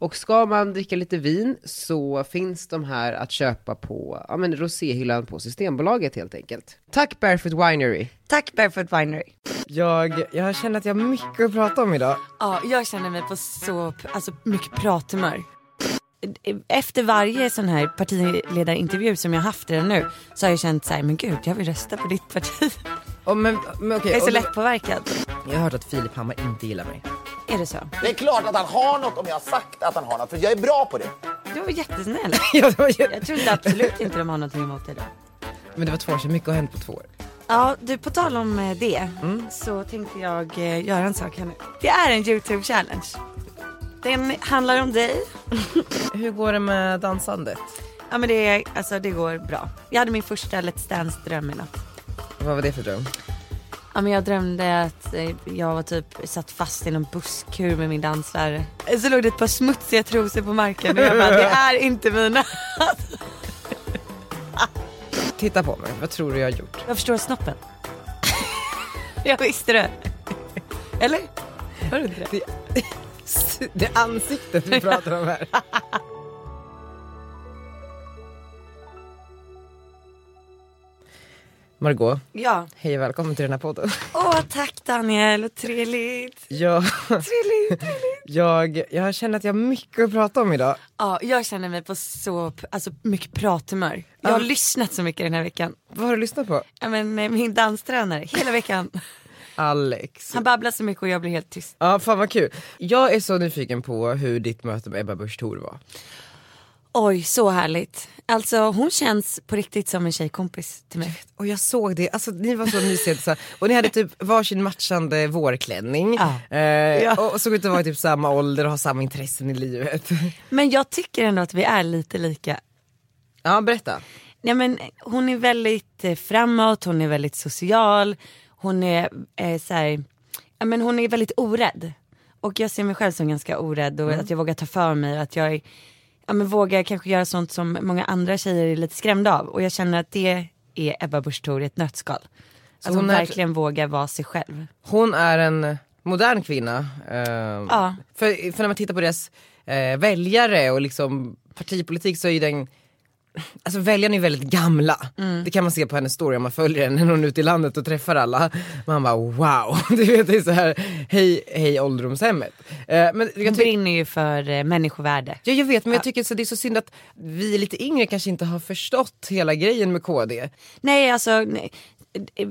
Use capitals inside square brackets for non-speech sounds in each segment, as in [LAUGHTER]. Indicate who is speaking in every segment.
Speaker 1: Och ska man dricka lite vin så finns de här att köpa på ja, men roséhyllan på Systembolaget helt enkelt. Tack Barefoot Winery!
Speaker 2: Tack Barefoot Winery.
Speaker 1: Jag, jag känner att jag har mycket att prata om idag.
Speaker 3: Ja, jag känner mig på så alltså, mycket prathumör. Efter varje sån här partiledarintervju som jag haft redan nu så har jag känt så här, men gud jag vill rösta på ditt parti.
Speaker 1: Oh, men, men, okej,
Speaker 3: Jag är så
Speaker 1: och-
Speaker 3: lättpåverkad.
Speaker 1: jag har hört att Filip Hammar inte gillar mig. [LAUGHS]
Speaker 3: Är det så?
Speaker 4: Det är klart att han har något om jag har sagt att han har något, för jag är bra på det.
Speaker 3: Du var jättesnäll.
Speaker 1: Ja, det var ju-
Speaker 3: Jag trodde absolut inte de har någonting emot dig då.
Speaker 1: men det var två år sedan, mycket har hänt på två år.
Speaker 3: Ja, du på tal om eh, det så tänkte jag eh, göra en sak här nu. Det är en YouTube challenge. Den handlar om dig.
Speaker 5: Hur går det med dansandet?
Speaker 3: Ja men det, är- alltså, det går bra. Jag hade min första Let's Dance dröm i natt.
Speaker 1: Vad var det för dröm?
Speaker 3: Ja, men jag drömde att eh, jag var typ satt fast i någon busskur med min danslärare. Eh, Så låg det ett par smutsiga trosor på marken och jag bara, det är inte mina.
Speaker 1: Titta på mig, vad tror du jag har
Speaker 3: [LAUGHS]
Speaker 1: gjort?
Speaker 3: [LAUGHS] Jag förstår snoppen. Jag visste det. Eller? Var det inte det?
Speaker 1: Det är ansiktet vi pratar om här. [LAUGHS] Margot,
Speaker 3: Ja.
Speaker 1: hej och välkommen till den här podden. [LAUGHS]
Speaker 3: Åh tack Daniel, vad trevligt.
Speaker 1: Jag,
Speaker 3: Trevligt.
Speaker 1: jag, jag känner att jag har mycket att prata om idag.
Speaker 3: Ja, jag känner mig på så alltså, mycket prathumör. Jag har lyssnat så mycket den här veckan.
Speaker 1: Vad har du lyssnat på?
Speaker 3: Ja, men, eh, min danstränare, hela veckan.
Speaker 1: Alex.
Speaker 3: Han babblar så mycket och jag blir helt tyst.
Speaker 1: Ja, fan vad kul. Jag är så nyfiken på hur ditt möte med Ebba Busch Thor var.
Speaker 3: Oj, så härligt. Alltså hon känns på riktigt som en tjejkompis till mig.
Speaker 1: Och jag såg det, alltså ni var så mysiga så här. och ni hade typ varsin matchande vårklänning
Speaker 3: Ja.
Speaker 1: eh, och- och såg ut att vara i typ samma ålder och ha samma intressen i livet.
Speaker 3: Men jag tycker ändå att vi är lite lika.
Speaker 1: Ja, berätta.
Speaker 3: Nej, men, eh, hon är väldigt eh, framåt, hon är väldigt social, hon är, eh, så här, ja, men hon är väldigt orädd. Och jag ser mig själv som ganska orädd och
Speaker 1: Mm.
Speaker 3: att jag vågar ta för mig och att jag är, ja, men, vågar kanske göra sånt som många andra tjejer är lite skrämda av. Och jag känner att det är Ebba Busch Thor i ett nötskal. Att hon
Speaker 1: hon är-
Speaker 3: verkligen vågar vara sig själv.
Speaker 1: Hon är en modern kvinna. ehm,
Speaker 3: Ja.
Speaker 1: för, för när man tittar på deras eh, väljare och liksom partipolitik så är ju den Alltså väljarna är ju väldigt gamla.
Speaker 3: Mm.
Speaker 1: Det kan man se på hennes story om man följer henne när hon är ute i landet och träffar alla. Man bara wow, [LAUGHS] du vet det är så här hej, hej ålderdomshemmet. Eh, men jag
Speaker 3: Hon
Speaker 1: tycker-
Speaker 3: brinner ju för eh, människovärde.
Speaker 1: Ja jag vet men jag tycker så det är så synd att vi lite yngre kanske inte har förstått hela grejen med KD.
Speaker 3: Nej alltså, nej.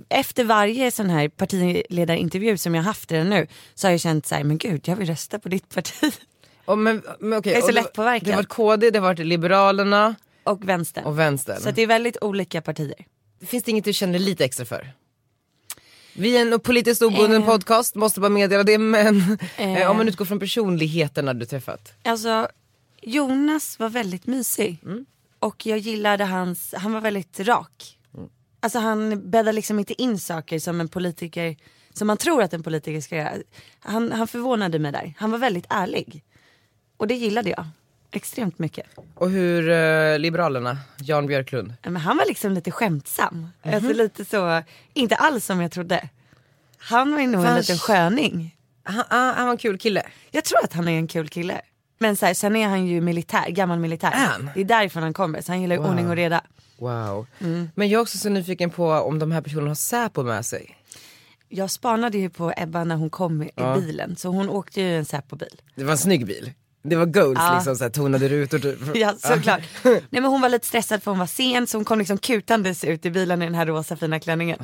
Speaker 3: efter varje sån här partiledarintervju som jag haft redan nu så har jag känt så här, men gud jag vill rösta på ditt parti. [LAUGHS]
Speaker 1: Och men, men okej,
Speaker 3: Jag är så
Speaker 1: och det-
Speaker 3: lättpåverkad.
Speaker 1: Det har varit KD, det har varit Liberalerna
Speaker 3: Och vänstern.
Speaker 1: och Vänstern.
Speaker 3: så att det är väldigt olika partier.
Speaker 1: Finns det inget du känner lite extra för? Vi är en politiskt obunden
Speaker 3: Eh.
Speaker 1: podcast, måste bara meddela det men
Speaker 3: Eh.
Speaker 1: om man utgår från personligheterna du träffat.
Speaker 3: Alltså Jonas var väldigt mysig. Och jag gillade hans, han var väldigt rak. Alltså han bäddar liksom inte in saker som en politiker, som man tror att en politiker ska göra. Han, han förvånade mig där. Han var väldigt ärlig. Och det gillade jag. Extremt mycket.
Speaker 1: Och hur eh, Liberalerna, Jan Björklund.
Speaker 3: Men han var liksom lite skämtsam.
Speaker 1: Mhm.
Speaker 3: Alltså lite så, inte alls som jag trodde. Han var ju nog en
Speaker 1: Fast-
Speaker 3: liten sköning.
Speaker 1: Han, ah, han han var en kul kille.
Speaker 3: Jag tror att han är en kul kille. Men så här, sen är han ju militär, gammal militär.
Speaker 1: Är han?
Speaker 3: Det är därifrån han kommer, så han gillar ju
Speaker 1: Wow.
Speaker 3: ordning och reda.
Speaker 1: Wow. Men jag är också så nyfiken på om de här personerna har Säpo med sig.
Speaker 3: Jag spanade ju på Ebba när hon kom i i bilen, så hon åkte ju i en Säpo-bil.
Speaker 1: Det var en snygg bil. Det var goals
Speaker 3: Ja.
Speaker 1: liksom, såhär, tonade rutor typ.
Speaker 3: [LAUGHS]
Speaker 1: [LAUGHS]
Speaker 3: Ja såklart. Nej men hon var lite stressad för hon var sen så hon kom liksom kutandes ut i bilen i den här rosa fina klänningen.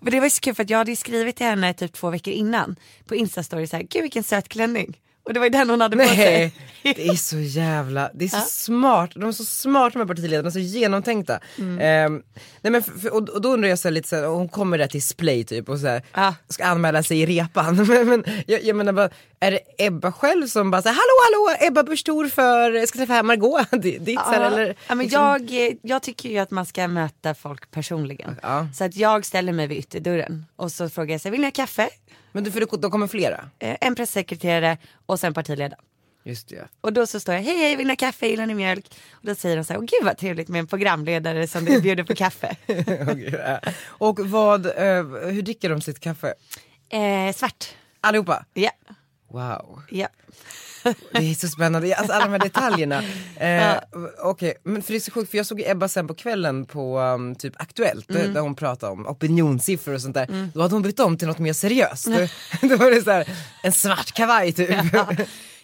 Speaker 3: Men det var ju så kul för att jag hade ju skrivit till henne typ två veckor innan på instastory så här, gud vilken söt klänning. Och det var ju den hon hade på
Speaker 1: Nej.
Speaker 3: [LAUGHS] sig.
Speaker 1: Det är så jävla, det är så smart, de är så smarta de här partiledarna, så genomtänkta.
Speaker 3: Mm.
Speaker 1: Ehm, nej men för, för, och, och då undrar jag så här lite så här, hon kommer där till Splay typ och så här,
Speaker 3: Ja.
Speaker 1: ska anmäla sig i repan. [LAUGHS] men, men, jag, jag menar bara, är det Ebba själv som bara säger hallå hallå Ebba Busch Thor för, jag ska träffa Margot [LAUGHS] D- ditt så här, eller?
Speaker 3: ja, men
Speaker 1: liksom-
Speaker 3: jag, eh, jag tycker ju att man ska möta folk personligen.
Speaker 1: Ja.
Speaker 3: Så att jag ställer mig vid ytterdörren och så frågar jag sig, vill ni ha kaffe?
Speaker 1: men du, för det, då kommer flera.
Speaker 3: Eh, En pressekreterare och sen partiledaren.
Speaker 1: Just [LAUGHS]
Speaker 3: [LAUGHS]
Speaker 1: det.
Speaker 3: Och då så står jag, hej hej, vill ni ha kaffe, gillar ni mjölk? Och då säger de så här, åh gud vad trevligt med en programledare som du bjuder på kaffe.
Speaker 1: eh, Och vad, eh, hur dricker de sitt kaffe?
Speaker 3: eh, svart.
Speaker 1: Allihopa?
Speaker 3: Ja,
Speaker 1: Wow.
Speaker 3: ja.
Speaker 1: Det är så spännande, alltså alla de här
Speaker 3: [LAUGHS]
Speaker 1: detaljerna. Eh, Okej, men för det är så sjukt för jag såg ju Ebba sen på kvällen på um, typ Aktuellt
Speaker 3: Mm.
Speaker 1: där hon pratade om opinionssiffror och sånt där. Då hade hon bytt om till något mer seriöst. [LAUGHS] Då var det så här, en svart kavaj typ.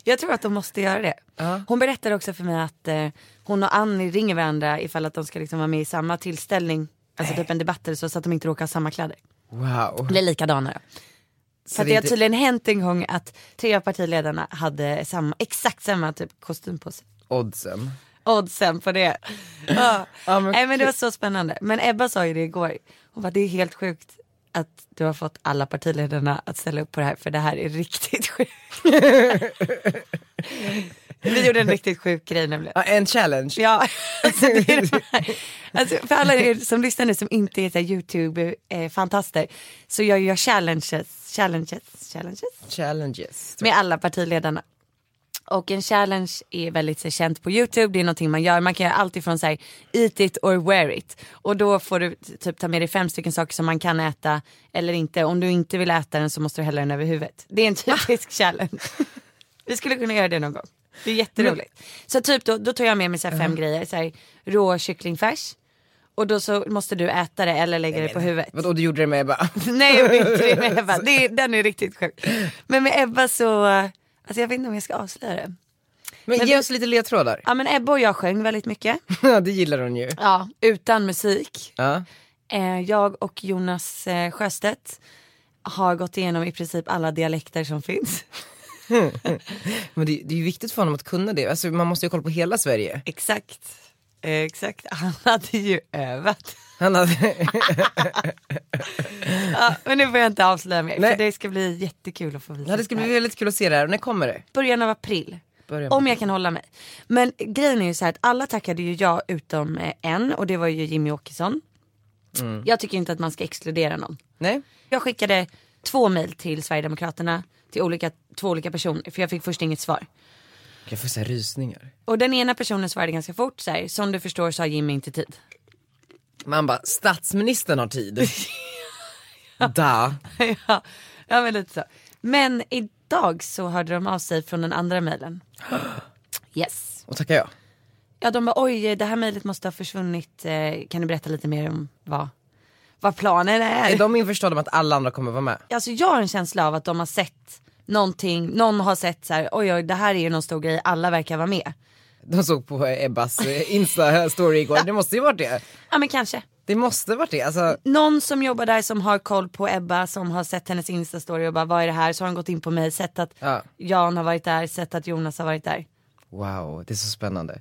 Speaker 3: Jag tror att de måste göra det. Hon berättade också för mig att eh, hon och Annie ringer varandra ifall att de ska liksom vara med i samma tillställning. Alltså typ en debatt eller så, så att de inte råkar ha samma kläder.
Speaker 1: Wow.
Speaker 3: Eller likadana då.
Speaker 1: Så
Speaker 3: För att
Speaker 1: det är
Speaker 3: det har
Speaker 1: inte-
Speaker 3: tydligen hänt en gång att tre av partiledarna hade samma, exakt samma typ kostym på sig.
Speaker 1: Oddsen.
Speaker 3: Oddsen på det. Ja.
Speaker 1: Ja, men
Speaker 3: Nej men det var så spännande. Men Ebba sa ju det igår. Hon bara det är helt sjukt att du har fått alla partiledarna att ställa upp på det här för det här är riktigt sjukt. Vi gjorde en riktigt sjuk grej nämligen.
Speaker 1: Ja, en challenge.
Speaker 3: Ja, alltså det är de här. Alltså för alla er som lyssnar nu som inte är så här YouTube-fantaster så gör jag challenges, challenges, challenges
Speaker 1: Challenges.
Speaker 3: med alla partiledarna. Och en challenge är väldigt så här, känt på YouTube, det är någonting man gör. Man kan göra allt ifrån så här, eat it or wear it. Och då får du t- typ ta med dig fem stycken saker som man kan äta eller inte. Om du inte vill äta den så måste du hälla den över huvudet. Det är en typisk challenge. Vi skulle kunna göra det någon gång. Det är jätteroligt. Så typ då, då tar jag med mig så här fem grejer. Så här, rå kycklingfärs. Och då så måste du äta det eller lägga det på huvudet.
Speaker 1: Vadå du gjorde det med Ebba?
Speaker 3: Nej jag vet
Speaker 1: [LAUGHS]
Speaker 3: inte det med Ebba, det, är- den är riktigt sjuk. Men med Ebba så, eh, alltså jag vet inte om jag ska avslöja det.
Speaker 1: Men,
Speaker 3: [LAUGHS] Men
Speaker 1: ge
Speaker 3: vi-
Speaker 1: oss lite
Speaker 3: [LAUGHS]
Speaker 1: ledtrådar.
Speaker 3: Ja men Ebba och jag sjöng väldigt mycket.
Speaker 1: Ja det gillar hon ju.
Speaker 3: Ja. Utan musik.
Speaker 1: Ja.
Speaker 3: Eh, jag och Jonas eh, Sjöstedt har gått igenom i princip alla dialekter
Speaker 1: [LAUGHS]
Speaker 3: som finns.
Speaker 1: Men det, det är ju viktigt för honom att kunna det, alltså, man måste ju kolla på hela Sverige.
Speaker 3: Exakt. Eh, exakt, han hade ju övat.
Speaker 1: Han hade... [LAUGHS]
Speaker 3: Ja, men nu får jag inte avslöja mer
Speaker 1: Nej.
Speaker 3: för det ska bli jättekul att få visa.
Speaker 1: Ja, det ska
Speaker 3: här.
Speaker 1: bli väldigt kul att se det här, och när kommer det?
Speaker 3: Början av april.
Speaker 1: Början på-
Speaker 3: Om jag kan hålla mig. Men grejen är ju så här att alla tackade ju ja utom eh, en och det var ju Jimmy Åkesson. Jag tycker inte att man ska exkludera någon.
Speaker 1: Nej?
Speaker 3: Jag skickade två mejl till Sverigedemokraterna till olika, två olika personer för jag fick först inget svar.
Speaker 1: Jag får så här rysningar.
Speaker 3: Och den ena personen svarade ganska fort så här, som du förstår så har Jimmy inte tid. [LAUGHS]
Speaker 1: Man bara, statsministern har tid. da.
Speaker 3: ja, ja men lite så. Men idag så hörde de av sig från den andra mejlen. Yes.
Speaker 1: Och tackar jag.
Speaker 3: Ja de bara oj det här mejlet måste ha försvunnit, Eh, kan du berätta lite mer om vad, vad planen är?
Speaker 1: Är de införstådda med att alla andra kommer vara med?
Speaker 3: Alltså jag har en känsla av att de har sett någonting, någon har sett så här, oj oj det här är ju någon stor grej, alla verkar vara med.
Speaker 1: De såg på Ebbas eh, Insta-story igår, det måste ju varit det.
Speaker 3: Ja men kanske.
Speaker 1: Det måste varit det, alltså.
Speaker 3: Någon som jobbar där som har koll på Ebba som har sett hennes instastory och bara vad är det här? Så har han gått in på mig, sett att
Speaker 1: Ja.
Speaker 3: Jan har varit där, sett att Jonas har varit där.
Speaker 1: Wow, det är så spännande.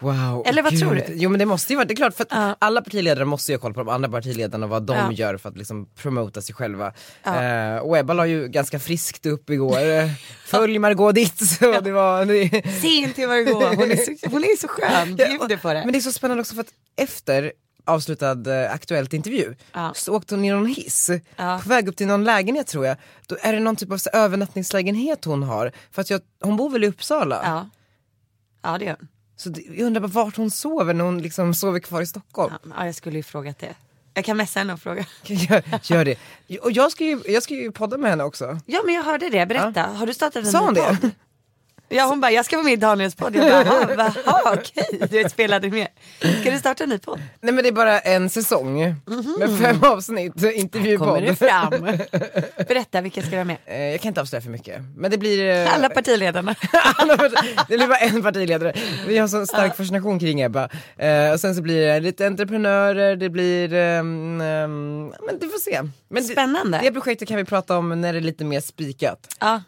Speaker 1: Wow.
Speaker 3: Eller vad
Speaker 1: gud.
Speaker 3: tror du?
Speaker 1: Jo men det måste ju vara, det är klart för att alla partiledare måste ju ha koll på de andra partiledarna och vad de
Speaker 3: Ja.
Speaker 1: gör för att liksom promota sig själva. Eh, och Ebba la ju ganska friskt upp igår,
Speaker 3: [LAUGHS]
Speaker 1: eh, följ Margot ditt. Så det var, det,
Speaker 3: Se inte vad det går, hon är så, [LAUGHS] hon är så skön, bjuder Um, på det.
Speaker 1: Men det är så spännande också för att efter avslutad eh, Aktuellt intervju
Speaker 3: Ja.
Speaker 1: så åkte hon i någon hiss
Speaker 3: Ja.
Speaker 1: på väg upp till någon lägenhet tror jag. Då är det någon typ av så, övernattningslägenhet hon har för att jag, hon bor väl i Uppsala.
Speaker 3: Ja. ja det gör hon.
Speaker 1: Så det, jag undrar bara vart hon sover när hon liksom sover kvar i Stockholm.
Speaker 3: Ja, Ja jag skulle ju frågat det. Jag kan messa henne och fråga.
Speaker 1: [LAUGHS] Gör, gör det. Och jag ska, ju, jag ska ju podda med henne också.
Speaker 3: Ja men jag hörde det, berätta. Har du startat en
Speaker 1: Sa
Speaker 3: ny
Speaker 1: hon
Speaker 3: podd?
Speaker 1: det?
Speaker 3: Ja hon bara, jag ska vara med i Daniels podd. Jag bara, "Aha,
Speaker 1: [LAUGHS]
Speaker 3: aha, okej, du spelade med. Ska du starta en ny podd?
Speaker 1: [LAUGHS] Nej men det är bara en säsong med fem avsnitt
Speaker 3: Mhm. Kommer
Speaker 1: intervjupodd.
Speaker 3: det fram? Berätta, vilka ska vara med?
Speaker 1: Eh, Jag kan inte avslöja för mycket. Men det blir... eh,
Speaker 3: Alla partiledarna.
Speaker 1: Alla part- det blir bara en partiledare. Vi har sån stark fascination kring Ebba. Eh, och sen så blir det lite entreprenörer, det blir... ehm, ehm, men du får se. Men det-
Speaker 3: [LAUGHS] Spännande.
Speaker 1: Det, projektet kan vi prata om när det är lite mer spikat.
Speaker 3: Ja.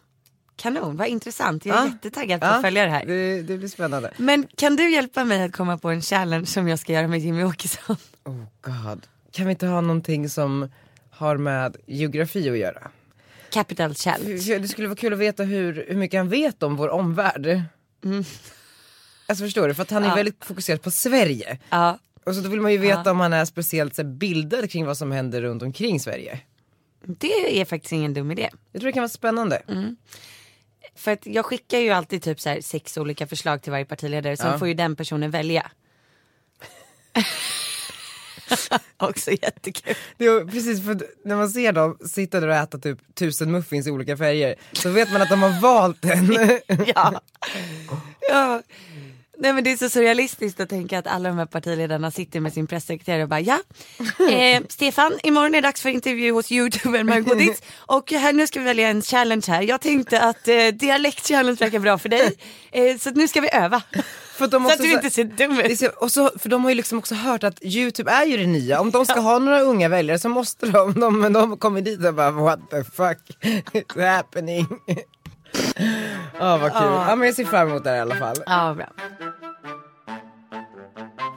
Speaker 3: Kanon, vad intressant. Jag är
Speaker 1: Ja.
Speaker 3: jättetaggad på att följa det här.
Speaker 1: Det, det blir spännande.
Speaker 3: Men kan du hjälpa mig att komma på en challenge som jag ska göra med Jimmy Åkesson?
Speaker 1: Oh god. Kan vi inte ha någonting som har med geografi att göra?
Speaker 3: Capital challenge.
Speaker 1: Det skulle vara kul att veta hur, hur mycket han vet om vår omvärld.
Speaker 3: Mm.
Speaker 1: Alltså förstår du? För att han är väldigt fokuserad på Sverige.
Speaker 3: Ja.
Speaker 1: Och så då vill man ju veta om han är speciellt så här, bildad kring vad som händer runt omkring Sverige.
Speaker 3: Det är faktiskt ingen dum idé.
Speaker 1: Jag tror det kan vara spännande.
Speaker 3: Mm. För att jag skickar ju alltid typ så här sex olika förslag till varje partiledare. Sen får ju den personen välja. [LAUGHS] Också jättekul.
Speaker 1: Det är, precis, för att när man ser dem sitta där och äta typ tusen muffins i olika färger så vet man att de har valt
Speaker 3: [LAUGHS]
Speaker 1: en.
Speaker 3: [LAUGHS] Ja. ja. Nej men det är så surrealistiskt att tänka att alla de här partiledarna sitter med sin pressekreterare och bara ja. [LAUGHS] Eh, Stefan, imorgon är det dags för intervju hos youtubern Margot Dietz och här, nu ska vi välja en challenge här. Jag tänkte att eh, dialekt-challenge verkar bra för dig. Eh, så att nu ska vi öva.
Speaker 1: För att de
Speaker 3: Så
Speaker 1: också
Speaker 3: att du
Speaker 1: så-
Speaker 3: inte ser dum
Speaker 1: Det
Speaker 3: ut.
Speaker 1: är så- Och så, för de har ju liksom också hört att youtube är ju det nya, om de ska ha några unga väljare så måste de, de, de kommer dit och bara what the fuck [LAUGHS] is happening. [LAUGHS] Ja vad kul, ja men jag ser fram emot det här i alla fall.
Speaker 3: Ja, bra.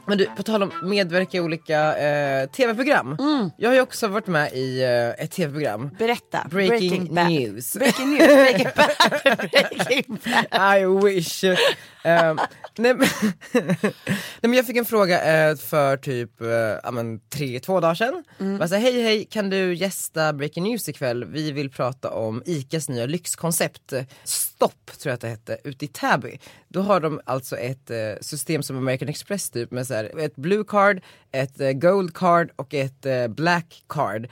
Speaker 1: Men du, på tal om medverka i olika eh, tv-program. Jag har ju också varit med i eh, ett tv-program.
Speaker 3: Berätta.
Speaker 1: Breaking,
Speaker 3: bad.
Speaker 1: news.
Speaker 3: Breaking news. Breaking bad. Breaking bad.
Speaker 1: I wish. Eh, nej, men, nej men jag fick en fråga eh, för typ eh, ja, men tre, två dagar sedan. Bara så här, hej hej, kan du gästa Breaking News ikväll? Vi vill prata om ICAs nya lyxkoncept eh, Stopp tror jag att det hette, ute i Täby. Då har de alltså ett eh, system som American Express typ med så här, ett blue card, ett eh, gold card och ett eh, black card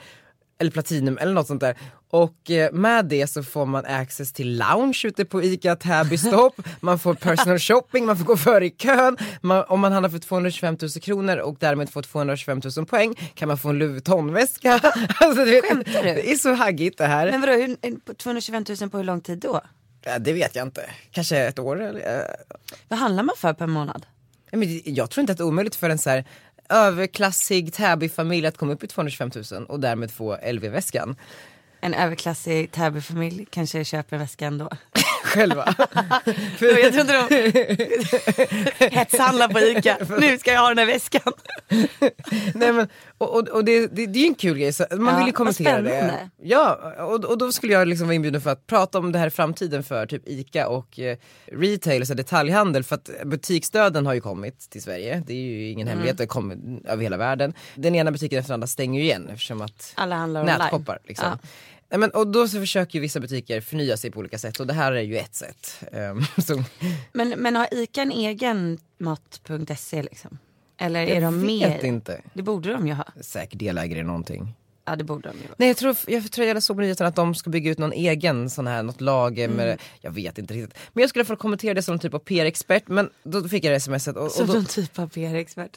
Speaker 1: eller platinum eller något sånt där. Och eh, med det så får man access till lounge ute på ICA
Speaker 3: [LAUGHS]
Speaker 1: Täby Stopp, man får personal shopping, man får gå före i kön. Man, om man handlar för 225 000 kronor och därmed får 225 000 poäng kan man få en Louis Vuitton-väska. [LAUGHS] alltså, du vet,
Speaker 3: Skämtar du?
Speaker 1: Det är så haggigt det här.
Speaker 3: Men vadå, hur- en- på 225 000 på hur lång tid då?
Speaker 1: Ja, det vet jag inte, kanske ett år eller? eh,
Speaker 3: Vad handlar man för per månad?
Speaker 1: Ja, men det- jag tror inte att det är omöjligt för en så här överklassig Täby-familj att komma upp i 225 000 och därmed få LV-väskan
Speaker 3: En överklassig Täbyfamilj kanske köper en
Speaker 1: [LAUGHS]
Speaker 3: väska ändå.
Speaker 1: själva.
Speaker 3: [LAUGHS] Jag tror inte de hetshandlar
Speaker 1: [LAUGHS]
Speaker 3: på ICA. Nu ska jag ha den här väskan.
Speaker 1: Nej, men, och och, och det, det, det är ju en kul grej, så man
Speaker 3: Ja,
Speaker 1: vill ju
Speaker 3: vad
Speaker 1: kommentera det.
Speaker 3: spännande.
Speaker 1: Ja, och, och då skulle jag liksom vara inbjuden för att prata om det här i framtiden för typ ICA och eh, retail, så detaljhandel. För att butiksdöden har ju kommit till Sverige, det är ju ingen
Speaker 3: Mm.
Speaker 1: hemlighet, det kommer över hela världen. Den ena butiken efter den andra stänger ju igen eftersom att
Speaker 3: Alla handlar online.
Speaker 1: nätkoppar. Liksom.
Speaker 3: Ja.
Speaker 1: Nej, men, och då så försöker ju vissa butiker förnya sig på olika sätt och det här är ju ett sätt. Ehm, [LAUGHS] så,
Speaker 3: Men, men har ICA en egen mat.se liksom? Eller är
Speaker 1: jag
Speaker 3: de med?
Speaker 1: vet
Speaker 3: i-
Speaker 1: inte.
Speaker 3: Det borde de ju ha.
Speaker 1: Säkert delägare i någonting.
Speaker 3: Ja det borde de ju. vara.
Speaker 1: Nej jag tror, jag tror jag såg på nyheterna att de ska bygga ut någon egen sån här, något lager med, jag vet inte riktigt. Men jag skulle få kommentera det som någon typ av PR-expert men då fick jag det smset och, och,
Speaker 3: Som
Speaker 1: då,
Speaker 3: någon typ av PR-expert.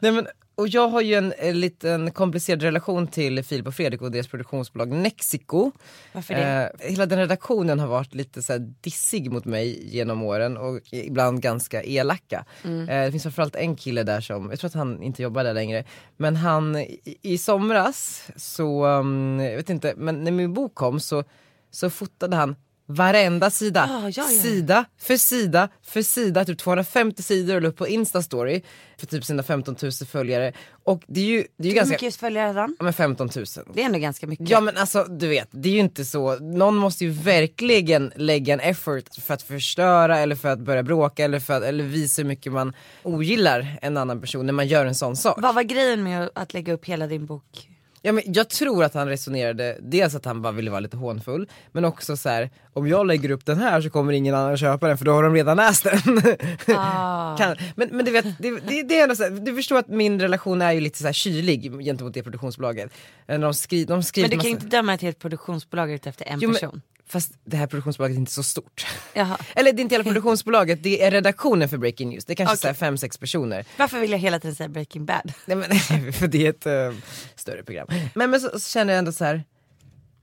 Speaker 1: nej, men, och jag har ju en, eh, liten komplicerad relation till Filip och Fredrik och deras produktionsbolag Nexiko.
Speaker 3: Varför det?
Speaker 1: Eh, hela den redaktionen har varit lite så här dissig mot mig genom åren och ibland ganska elaka.
Speaker 3: Mm.
Speaker 1: Eh, det finns framförallt en kille där som, jag tror att han inte jobbar där längre, men han i, i somras så, um, jag vet inte, men när min bok kom så, så fotade han varenda sida,
Speaker 3: Ah, ja, ja.
Speaker 1: sida för sida för sida, typ 250 sidor och la upp på Insta-story för typ sina 15 000 följare. Och det är ju, det är ju
Speaker 3: Hur
Speaker 1: ganska,
Speaker 3: mycket följare hade han?
Speaker 1: ja men 15 000.
Speaker 3: Det är ändå ganska mycket.
Speaker 1: Ja men alltså du vet, det är ju inte så, någon måste ju verkligen lägga en effort för att förstöra eller för att börja bråka eller, för att, eller visa hur mycket man ogillar en annan person när man gör en sån sak.
Speaker 3: Vad var grejen med att- att lägga upp hela din bok?
Speaker 1: Ja, men jag tror att han resonerade, dels att han bara ville vara lite hånfull, men också så här: om jag lägger upp den här så kommer ingen annan köpa den för då har de redan läst den.
Speaker 3: [LAUGHS] Ah.
Speaker 1: kan, men, men du vet, det, det, det är ändå så här, du förstår att min relation är ju lite så här kylig gentemot det produktionsbolaget. Eh, De, skri, de skriver
Speaker 3: Men du kan ju
Speaker 1: massa-
Speaker 3: inte döma ett helt produktionsbolag ut efter en
Speaker 1: Jo, men-
Speaker 3: person.
Speaker 1: Fast det här produktionsbolaget är inte så stort. [LAUGHS]
Speaker 3: Jaha.
Speaker 1: Eller det är inte hela produktionsbolaget, det är redaktionen för Breaking News. Det är kanske
Speaker 3: Okej.
Speaker 1: så här fem, sex personer.
Speaker 3: Varför vill jag hela tiden säga Breaking Bad?
Speaker 1: Nej, men, [LAUGHS] för det är ett eh, större program. Men, men så, så känner jag ändå så här.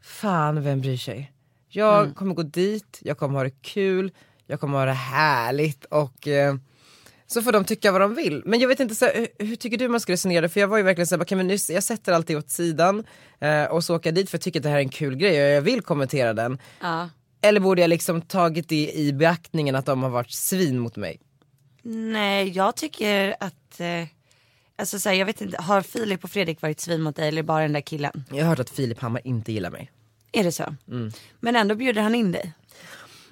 Speaker 1: fan vem bryr sig? Jag kommer gå dit, jag kommer ha det kul, jag kommer ha det härligt och eh, Så får de tycka vad de vill. Men jag vet inte, så här, hur- hur tycker du man ska resonera? För jag var ju verkligen såhär, kan vi nu, jag sätter allt det åt sidan eh, och så åker jag dit för jag tycker att det här är en kul grej och jag vill kommentera den.
Speaker 3: Ja.
Speaker 1: Eller borde jag liksom tagit det i beaktningen att de har varit svin mot mig?
Speaker 3: Nej, jag tycker att, eh, alltså så här, jag vet inte, har Filip och Fredrik varit svin mot dig eller bara den där killen?
Speaker 1: Jag har hört att Filip Hammar inte gillar mig.
Speaker 3: Är det så? Men ändå bjuder han in dig.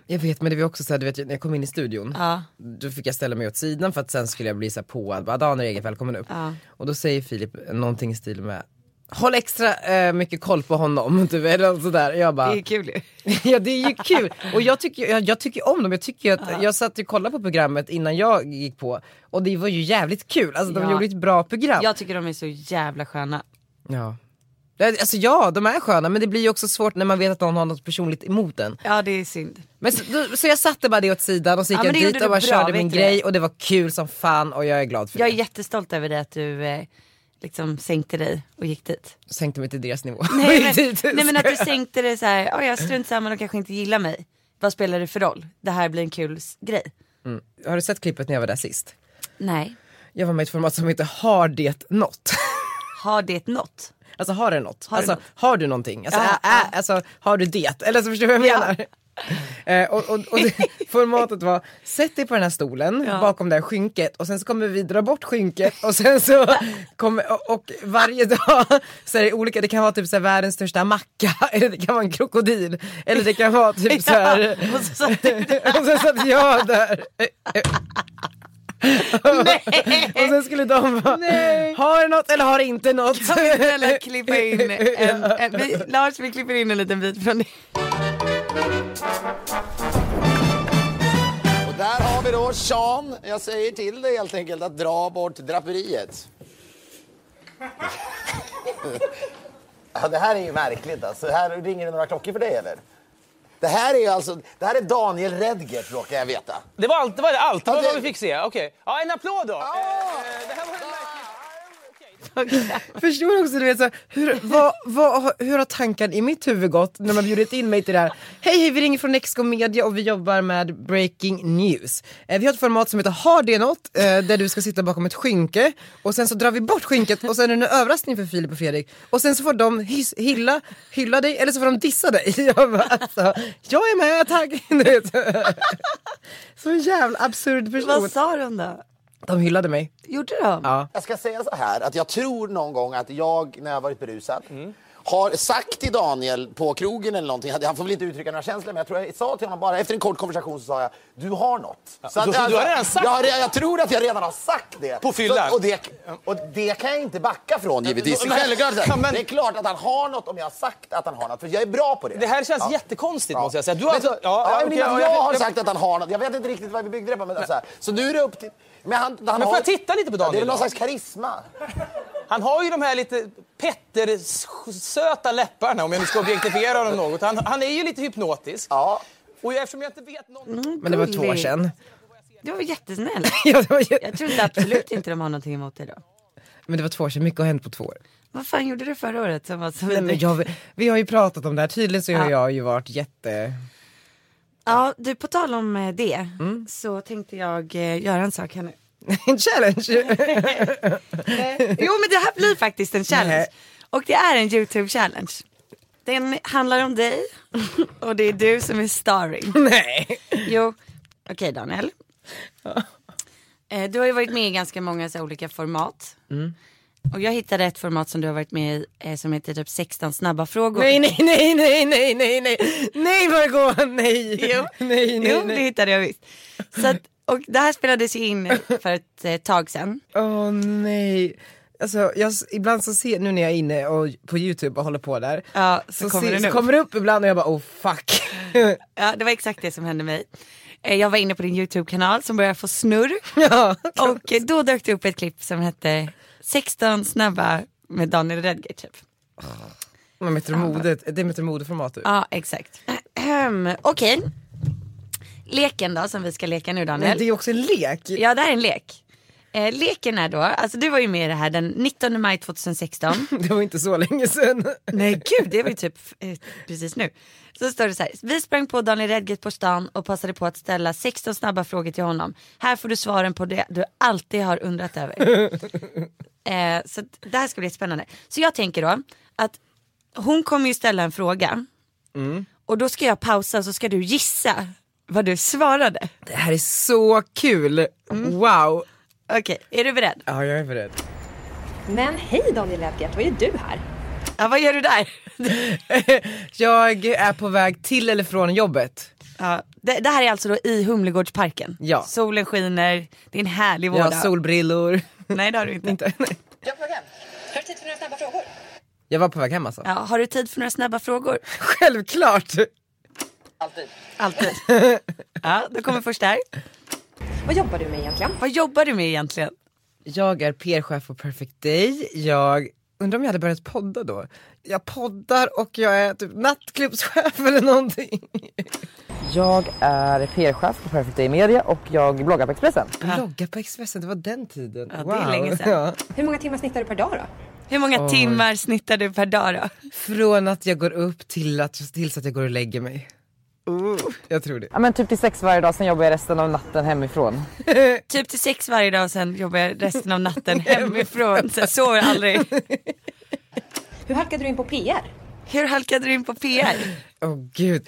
Speaker 1: Jag vet men det var också såhär, du vet när jag kom in i studion,
Speaker 3: Ja.
Speaker 1: då fick jag ställa mig åt sidan för att sen skulle jag bli såhär påad, bara Dan är eget välkommen upp.
Speaker 3: Ja.
Speaker 1: Och då säger Filip någonting i stil med Håll extra eh, mycket koll på honom, [LAUGHS] typ, eller något sådär. Jag bara,
Speaker 3: kul ju.
Speaker 1: [LAUGHS] ja det är ju kul. Och jag tycker, jag, jag tycker om dem, jag tycker ju att, jag satt ju och kollade på programmet innan jag gick på och det var ju jävligt kul, alltså de
Speaker 3: Ja.
Speaker 1: gjorde ett bra program.
Speaker 3: Jag tycker de är så jävla sköna.
Speaker 1: Ja. Ja, Alltså ja, de är sköna men det blir ju också svårt när man vet att någon har något personligt emot en.
Speaker 3: Ja det är synd.
Speaker 1: Men så, då, så jag satte bara det åt sidan och så gick
Speaker 3: Ja, men
Speaker 1: jag
Speaker 3: det
Speaker 1: dit
Speaker 3: gjorde
Speaker 1: och
Speaker 3: du
Speaker 1: bara
Speaker 3: bra,
Speaker 1: körde
Speaker 3: vet
Speaker 1: min
Speaker 3: du
Speaker 1: grej
Speaker 3: det?
Speaker 1: och det var kul som fan och jag är glad för
Speaker 3: Jag är
Speaker 1: det.
Speaker 3: jättestolt över det att du eh, liksom sänkte dig och gick dit.
Speaker 1: Sänkte mig till deras nivå. [LAUGHS]
Speaker 3: Nej
Speaker 1: Jag gick dit.
Speaker 3: men, nej, men att du sänkte dig så här, "Oj, jag strunt samma, de kanske inte gillar mig. Vad spelar det för roll? Det här blir en kul s- grej.
Speaker 1: Har du sett klippet när jag var där sist?
Speaker 3: Nej.
Speaker 1: Jag var med i ett format som heter Har det något? [LAUGHS]
Speaker 3: Har det nått?
Speaker 1: Alltså har det något?
Speaker 3: Har det
Speaker 1: alltså
Speaker 3: något?
Speaker 1: har du någonting? Alltså,
Speaker 3: Ja,
Speaker 1: ä, ä, alltså har du det? Eller så förstår du vad jag menar? [LAUGHS] Eh, och och,
Speaker 3: [LAUGHS]
Speaker 1: och det, formatet var, sätt dig på den här stolen bakom det här skynket och sen så kommer vi dra bort skynket och sen så kommer, och, och varje dag så är det olika, det kan vara typ så här, världens största macka [LAUGHS] eller det kan vara en krokodil eller det kan vara typ så här.
Speaker 3: [LAUGHS] Och så satt du
Speaker 1: [LAUGHS] och sen satt jag där. Och
Speaker 3: [LAUGHS]
Speaker 1: sen skulle de bara, har du något eller har du inte något?
Speaker 3: Kan vi snälla
Speaker 1: [LAUGHS]
Speaker 3: klippa in en, en vi, Lars vi klipper in en liten bit från det.
Speaker 4: Och där har vi då Sean. Jag säger till dig helt enkelt att dra bort draperiet. [LAUGHS] ja, det här är ju märkligt alltså. Här ringer det några klockor för dig eller? Det här är ju alltså, det här är Daniel Redgert råkar jag veta.
Speaker 6: Det var allt, det var det allt. Det var
Speaker 4: Ja, det-
Speaker 6: vad vi fick se. Okej. Ja, en applåd då. Eh, det här var en märklig-
Speaker 1: [LAUGHS] Förstår också, du vet, så, här, hur, vad, vad, hur har tanken i mitt huvud gått när man bjudit in mig till det här? Hej, hej, vi ringer från Nexco Media och vi jobbar med breaking news. Eh, vi har ett format som heter Har det något? Eh, där du ska sitta bakom ett skynke och sen så drar vi bort skynket och sen är det en överraskning för Filip och Fredrik. Och sen så får de his, hylla, hylla dig eller så får de dissa dig. [LAUGHS] Jag, bara, alltså, jag är med, tack! [LAUGHS] Du vet. Så en jävla absurd person.
Speaker 2: Vad sa de då?
Speaker 1: De hyllade mig.
Speaker 2: Gjorde de?
Speaker 1: Ja.
Speaker 4: Jag ska säga så här att jag tror någon gång att jag när jag varit berusad har sagt till Daniel på krogen eller någonting, han får väl inte uttrycka några känslor men jag tror jag sa till honom bara efter en kort konversation så sa jag du har något. Så
Speaker 6: du- du har redan sagt
Speaker 4: jag, har re- jag tror att jag redan har sagt det.
Speaker 6: På fyllan.
Speaker 4: Så- Och det, och det kan jag inte backa från givetvis.
Speaker 6: Men-
Speaker 4: Självklart, så här,
Speaker 6: Ja, men-
Speaker 4: Det är klart att han har något om jag har sagt att han har något för jag är bra på det.
Speaker 6: Det här känns jättekonstigt måste jag säga. Du har
Speaker 4: Men
Speaker 6: alltså-
Speaker 4: så-
Speaker 6: ja,
Speaker 4: ja,
Speaker 6: ja,
Speaker 4: men
Speaker 6: okej,
Speaker 4: innan
Speaker 6: ja,
Speaker 4: jag,
Speaker 6: jag-
Speaker 4: har
Speaker 6: jag-
Speaker 4: sagt att han har något, jag vet inte riktigt vad vi byggde det på men så, här, så nu är det upp till... Men, han, han
Speaker 6: Men får
Speaker 4: har-
Speaker 6: jag titta lite på Daniel
Speaker 4: Det är väl någon
Speaker 6: då?
Speaker 4: slags karisma.
Speaker 6: Han har ju de här lite Petter-söta läpparna om jag nu ska objektifiera honom något. Han, han är ju lite hypnotisk.
Speaker 4: Ja.
Speaker 6: Och jag, eftersom jag inte vet någonting...
Speaker 1: Men det var två år sedan. [LAUGHS]
Speaker 3: Du var jättesnäll.
Speaker 1: Ja, det var ju-
Speaker 3: Jag tror inte absolut inte de har någonting emot dig då.
Speaker 1: Men det var två år sedan, mycket har hänt på två år.
Speaker 3: Vad fan gjorde du förra året som var så
Speaker 1: Nej, men
Speaker 3: vidrigt?
Speaker 1: jag, vi har ju pratat om det här, tydligen så har jag ju varit jätte... [LAUGHS]
Speaker 3: Ja du på tal om eh, det
Speaker 1: Mm.
Speaker 3: så tänkte jag eh, göra en sak här nu.
Speaker 1: En challenge! [LAUGHS]
Speaker 3: Eh, Jo men det här blir faktiskt en challenge.
Speaker 1: Nej.
Speaker 3: Och det är en YouTube challenge. Den handlar om dig och det är du som är starring.
Speaker 1: Nej!
Speaker 3: Jo, okej Daniel. Eh, Du har ju varit med i ganska många så här olika format.
Speaker 1: Mm.
Speaker 3: Och jag hittade ett format som du har varit med i eh, som heter typ 16 snabba frågor.
Speaker 1: Nej, nej, nej, nej, nej, nej, nej, nej Margot, nej!
Speaker 3: Jo.
Speaker 1: Nej, nej,
Speaker 3: jo, det
Speaker 1: nej.
Speaker 3: hittade jag visst. Så att, och det här spelades ju
Speaker 1: [LAUGHS]
Speaker 3: in för ett eh, tag sedan.
Speaker 1: Åh nej. Alltså jag, ibland så ser, nu när jag är inne och, på youtube och håller på där,
Speaker 3: Ja, så kommer det
Speaker 1: så
Speaker 3: upp.
Speaker 1: kommer det upp ibland och jag bara oh fuck. [LAUGHS]
Speaker 3: Ja, det var exakt det som hände mig. Eh, Jag var inne på din YouTube-kanal som började få [LAUGHS] snurr.
Speaker 1: ja.
Speaker 3: Och eh, då dök det upp ett klipp som hette 16 snabba med Daniel Redgert typ.
Speaker 1: Men Metro Modet, det är Metro Mode-format du.
Speaker 3: Ja, exakt. Ahem, Okej. Leken då som vi ska leka nu
Speaker 1: Nej,
Speaker 3: Daniel.
Speaker 1: det är också en lek.
Speaker 3: Ja, det här är en lek. Eh, leken är då, alltså du var ju med i det här den 19 maj 2016.
Speaker 1: [LAUGHS] Det var inte så länge sedan.
Speaker 3: Nej gud, det var ju typ eh, precis nu. Så står det så här, vi sprang på Daniel Redgert på stan och passade på att ställa 16 snabba frågor till honom. Här får du svaren på det du alltid har undrat över. eh, så att det här ska bli spännande. Så jag tänker då att hon kommer ju ställa en fråga och då ska jag pausa så ska du gissa vad du svarade.
Speaker 1: Det här är så kul. Wow.
Speaker 3: Okej, är du beredd?
Speaker 1: Mm. Ja, jag är beredd.
Speaker 7: Men hej Daniel Edgert, vad gör du här?
Speaker 3: Ja, vad gör du där?
Speaker 1: Jag är på väg till eller från jobbet.
Speaker 3: Ja, det, det här är alltså då i Humlegårdsparken.
Speaker 1: Ja.
Speaker 3: Solen skiner, det är en härlig
Speaker 1: Jag
Speaker 3: vårdag.
Speaker 1: har [LAUGHS] solbrillor.
Speaker 3: Nej det har du inte.
Speaker 1: Inte, nej.
Speaker 7: Har du tid för några snabba frågor?
Speaker 1: Jag var på väg hem alltså. [LAUGHS]
Speaker 3: Ja, har du tid för några snabba frågor?
Speaker 1: Självklart!
Speaker 3: Alltid. [LAUGHS] ja, då kommer först här.
Speaker 7: Vad jobbar du med egentligen?
Speaker 3: Vad jobbar du med egentligen?
Speaker 1: Jag är PR-chef på Perfect Day. Jag undrar om jag hade börjat podda då. Jag poddar och jag är typ nattklubbschef [LAUGHS] eller någonting. Jag är PR-chef på Perfect Day Media och jag bloggar på Expressen. Bloggar på Expressen, det var den tiden.
Speaker 3: Ja, det är länge sedan.
Speaker 1: Ja.
Speaker 7: Hur många timmar snittar du per dag då?
Speaker 3: Hur många timmar snittar du per dag då?
Speaker 1: Från att jag går upp till att, tills att jag går och lägger mig. Jag tror det.
Speaker 5: Ja, men typ till sex varje dag, sen jobbar jag resten av natten hemifrån.
Speaker 3: Typ till sex varje dag och sen jobbar [LAUGHS] jag resten av natten hemifrån. Så jag sover aldrig.
Speaker 7: Hur halkade du in på PR?
Speaker 3: Hur halkade du in på PR?
Speaker 1: Åh gud.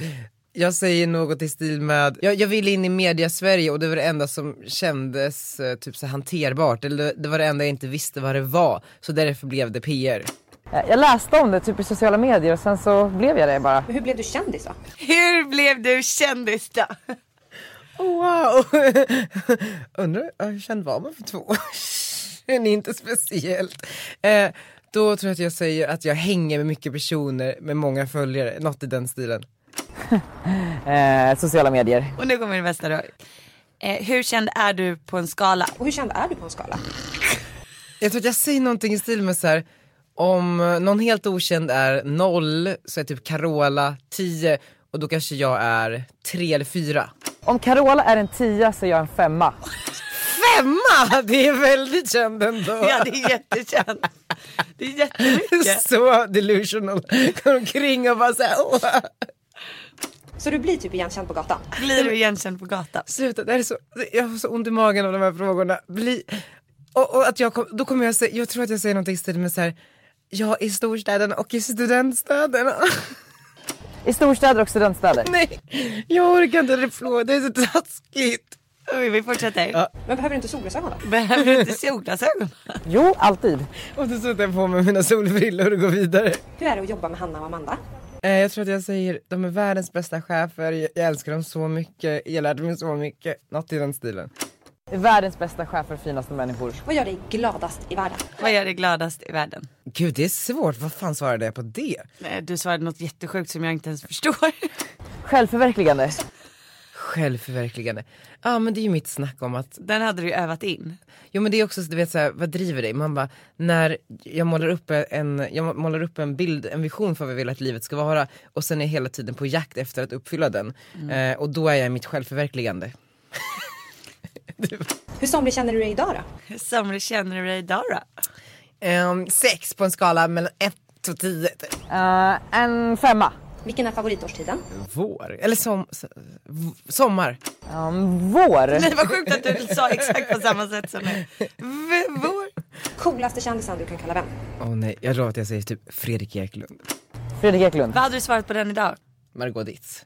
Speaker 1: Jag säger något i stil med, jag, jag ville in i media-Sverige och det var det enda som kändes eh, typ så här hanterbart, eller det, det var det enda jag inte visste vad det var, så därför blev det PR.
Speaker 5: Eh, Jag läste om det typ i sociala medier och sen så blev jag det bara.
Speaker 7: Hur blev du kändis då?
Speaker 3: Hur blev du kändis då?
Speaker 1: Wow! [LAUGHS] Undrar ja, hur känd var man för två år sedan? [LAUGHS] Inte speciellt. Eh, då tror jag att jag säger att jag hänger med mycket personer med många följare, något i den stilen.
Speaker 5: Eh, sociala medier.
Speaker 3: Och nu kommer det bästa då. Eh, hur känd är du på en skala?
Speaker 7: Och hur känd är du på en skala?
Speaker 1: Jag tror att jag säger någonting i stil med så här. om någon helt okänd är noll så är typ Carola 10 och då kanske jag är tre eller fyra.
Speaker 5: Om Carola är en tia så är jag en femma.
Speaker 1: Femma! Det är väldigt känd ändå.
Speaker 3: [LAUGHS] Ja det är jättekänt. Det är jättemycket.
Speaker 1: [LAUGHS] Så delusional. Går omkring och bara såhär, åh.
Speaker 7: Så du blir typ igenkänd på gatan?
Speaker 3: Blir du igenkänd på gatan?
Speaker 1: Sluta, det här är så, jag har så ont i magen av de här frågorna. Bli, och, och att jag kom, då kommer jag säga, jag tror att jag säger någonting i stil med såhär, ja i storstäderna och i studentstäderna. [LAUGHS]
Speaker 5: I storstäder och studentstäder.
Speaker 1: Nej, jag orkar inte det, förlåt, det är så taskigt.
Speaker 3: Oj, vi fortsätter.
Speaker 7: Men behöver du inte solglasögon då?
Speaker 3: Behöver du inte solglasögon?
Speaker 5: Jo, alltid.
Speaker 1: Och då sätter jag på mig mina solbrillor och går vidare.
Speaker 7: Hur är det att jobba med Hanna och Amanda?
Speaker 1: Eh, jag tror att jag säger, de är världens bästa chefer, jag, jag älskar dem så mycket, jag lärde mig så mycket. Något i den stilen.
Speaker 5: Världens bästa chefer, finaste människor.
Speaker 7: Vad gör dig gladast i världen?
Speaker 3: Vad gör dig gladast i världen?
Speaker 1: Gud det är svårt, vad fan svarade jag på det?
Speaker 3: Nej, Eh, Du svarade något jättesjukt som jag inte ens förstår. [LAUGHS]
Speaker 5: Självförverkligande.
Speaker 1: Självförverkligande. Ja men det är ju mitt snack om att
Speaker 3: Den hade du ju övat in.
Speaker 1: Jo men det är också, du vet såhär, vad driver dig? Man bara, när jag målar upp en, jag målar upp en bild, en vision för vad jag vill att livet ska vara och sen är jag hela tiden på jakt efter att uppfylla den. Eh, och då är jag i mitt självförverkligande.
Speaker 7: Hur somrig känner du dig idag då?
Speaker 3: Hur somrig känner du dig idag då? [LAUGHS]
Speaker 1: Ehm, sex på en skala mellan ett och tio. typ.
Speaker 5: Eh, en femma.
Speaker 7: Vilken är favoritårstiden?
Speaker 1: Vår, eller som, s- v- sommar.
Speaker 5: Um, vår.
Speaker 3: Nej vad sjukt att du [LAUGHS] sa exakt på samma sätt som mig. V- Vår.
Speaker 7: Coolaste kändisen du kan kalla vän?
Speaker 1: Åh nej, jag lovar att jag säger typ Fredrik Eklund.
Speaker 5: Fredrik Eklund.
Speaker 3: Vad hade du svarat på den idag?
Speaker 1: Margot Dietz.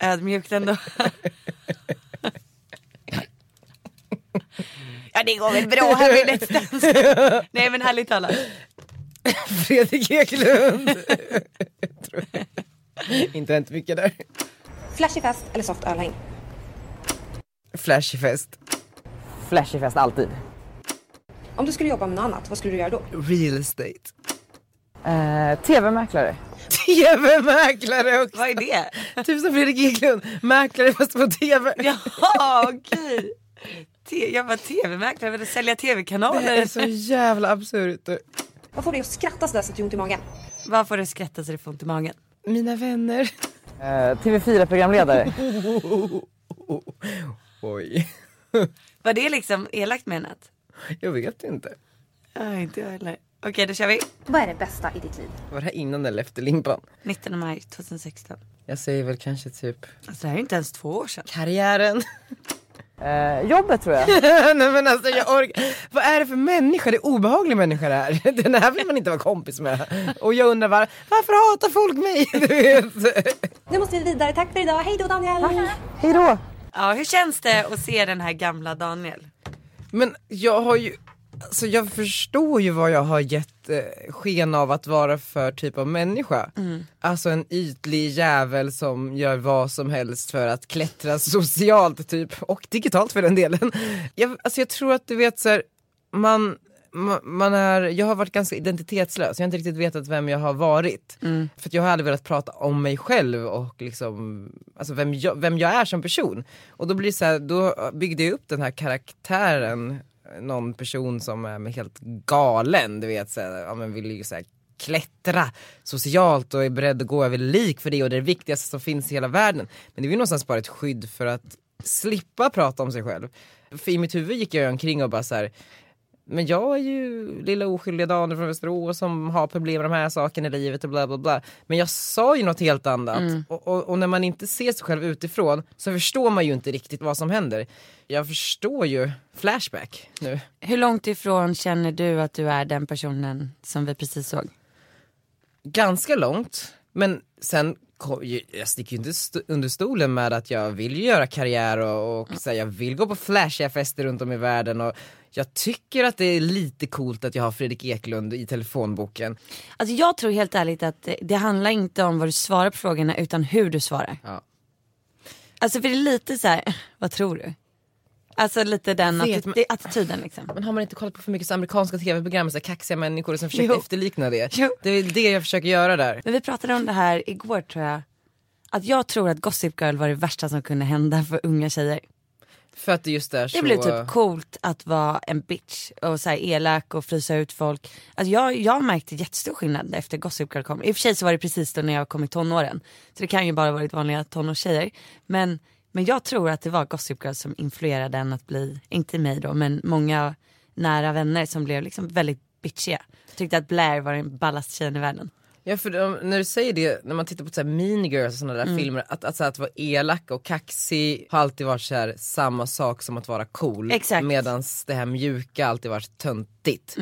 Speaker 3: Ödmjukt ändå. [LAUGHS] Ja det går väl bra här i Let's Dance. Nej men härligt talat.
Speaker 1: [LAUGHS] Fredrik Eklund! Tror jag. [LAUGHS] Inte hänt mycket där.
Speaker 7: Flashig fest eller soft ölhäng?
Speaker 1: Flashig fest.
Speaker 5: Flashig fest, alltid.
Speaker 7: Om du skulle jobba med något annat, vad skulle du göra då?
Speaker 1: Real estate.
Speaker 5: Eh, TV-mäklare.
Speaker 1: TV-mäklare också!
Speaker 3: Vad är det? [LAUGHS]
Speaker 1: Typ som Fredrik Eklund, mäklare fast på TV.
Speaker 3: Jaha okej. Te- Jag var tv-mäklare, jag ville sälja
Speaker 1: Det är
Speaker 3: tv-kanaler.
Speaker 1: så jävla absurt.
Speaker 7: Vad får dig att skratta sådär så att du har ont i magen?
Speaker 3: Vad får du skratta så det får ont i magen?
Speaker 1: Mina vänner.
Speaker 5: Eh, TV4-programledare.
Speaker 1: Oj.
Speaker 2: Var det liksom elakt menat?
Speaker 1: Jag vet inte.
Speaker 2: Ja, inte jag heller. Okej, då kör vi.
Speaker 7: Vad är det bästa i ditt liv?
Speaker 1: Var det här innan eller efter limpan?
Speaker 2: 19 maj 2016.
Speaker 1: Jag säger väl kanske typ
Speaker 2: Alltså det här är inte ens två år sedan.
Speaker 1: karriären.
Speaker 5: Eh, jobbet tror jag.
Speaker 1: [LAUGHS] Nej men alltså jag orkar. Vad är det för människa? Det är obehaglig människa det här. [LAUGHS] Den här vill man inte vara kompis med. Och jag undrar var, varför hatar folk mig? [LAUGHS] Du vet.
Speaker 7: Nu måste vi vidare. Tack för idag. Hej då Daniel!
Speaker 5: Hej då.
Speaker 2: Ja, hur känns det att se den här gamla Daniel?
Speaker 1: Men jag har ju, alltså jag förstår ju vad jag har gett eh, sken av att vara för typ av människa. Alltså en ytlig jävel som gör vad som helst för att klättra socialt typ, och digitalt för den delen. Jag, alltså jag tror att du vet så här, man ma- man är, jag har varit ganska identitetslös, jag har inte riktigt vetat vem jag har varit. För att jag har aldrig velat prata om mig själv och liksom, alltså vem, jag, vem jag är som person. Och då blir det så här, då byggde jag upp den här karaktären, eh, någon person som är helt galen, du vet, så här, ja, men vill ju så här klättra socialt och är beredd att gå över lik för det och det är det viktigaste som finns i hela världen. Men det är ju någonstans bara ett skydd för att slippa prata om sig själv. För i mitt huvud gick jag ju omkring och bara så här, men jag är ju lilla oskyldiga Daniel från Västerås som har problem med de här sakerna i livet och bla bla bla. Men jag sa ju något helt annat. Och, och, och när man inte ser sig själv utifrån så förstår man ju inte riktigt vad som händer. Jag förstår ju Flashback nu.
Speaker 3: Hur långt ifrån känner du att du är den personen som vi precis såg?
Speaker 1: ganska långt. Men sen, kom ju- jag sticker ju inte st- under stolen med att jag vill ju göra karriär och, och så här, jag vill gå på flashiga fester runt om i världen och jag tycker att det är lite coolt att jag har Fredrik Eklund i telefonboken.
Speaker 3: Alltså jag tror helt ärligt att eh, det handlar inte om vad du svarar på frågorna utan hur du svarar.
Speaker 1: Ja.
Speaker 3: Alltså för det är lite så här, [LAUGHS] vad tror du? Alltså lite den
Speaker 1: Vet,
Speaker 3: atti-
Speaker 1: men-
Speaker 3: det- attityden liksom.
Speaker 1: Men har man inte kollat på för mycket så amerikanska tv-program med så här kaxiga människor som försöker
Speaker 3: Jo.
Speaker 1: efterlikna det?
Speaker 3: Jo.
Speaker 1: Det är väl det jag försöker göra där.
Speaker 3: Men vi pratade om det här igår tror jag. Att jag tror att Gossip Girl var det värsta som kunde hända för unga tjejer.
Speaker 1: För att det just där så...
Speaker 3: Det blev typ coolt att vara en bitch och så här elak och frysa ut folk. Alltså jag, jag märkte jättestor skillnad efter Gossip Girl kom. I och för sig så var det precis då när jag kom i tonåren. Så det kan ju bara ha varit vanliga tonårstjejer. Men, men jag tror att det var Gossip Girl som influerade en att bli, inte mig då, men många nära vänner som blev liksom väldigt bitchiga. Tyckte att Blair var den ballaste tjejen i världen.
Speaker 1: Ja för de, när du säger det, när man tittar på så här Mean Girls och sådana
Speaker 3: Mm.
Speaker 1: där filmer, att, att, så här, att vara elak och kaxig har alltid varit så här, samma sak som att vara cool.
Speaker 3: Exakt. Mm.
Speaker 1: Medan det här mjuka alltid varit töntigt.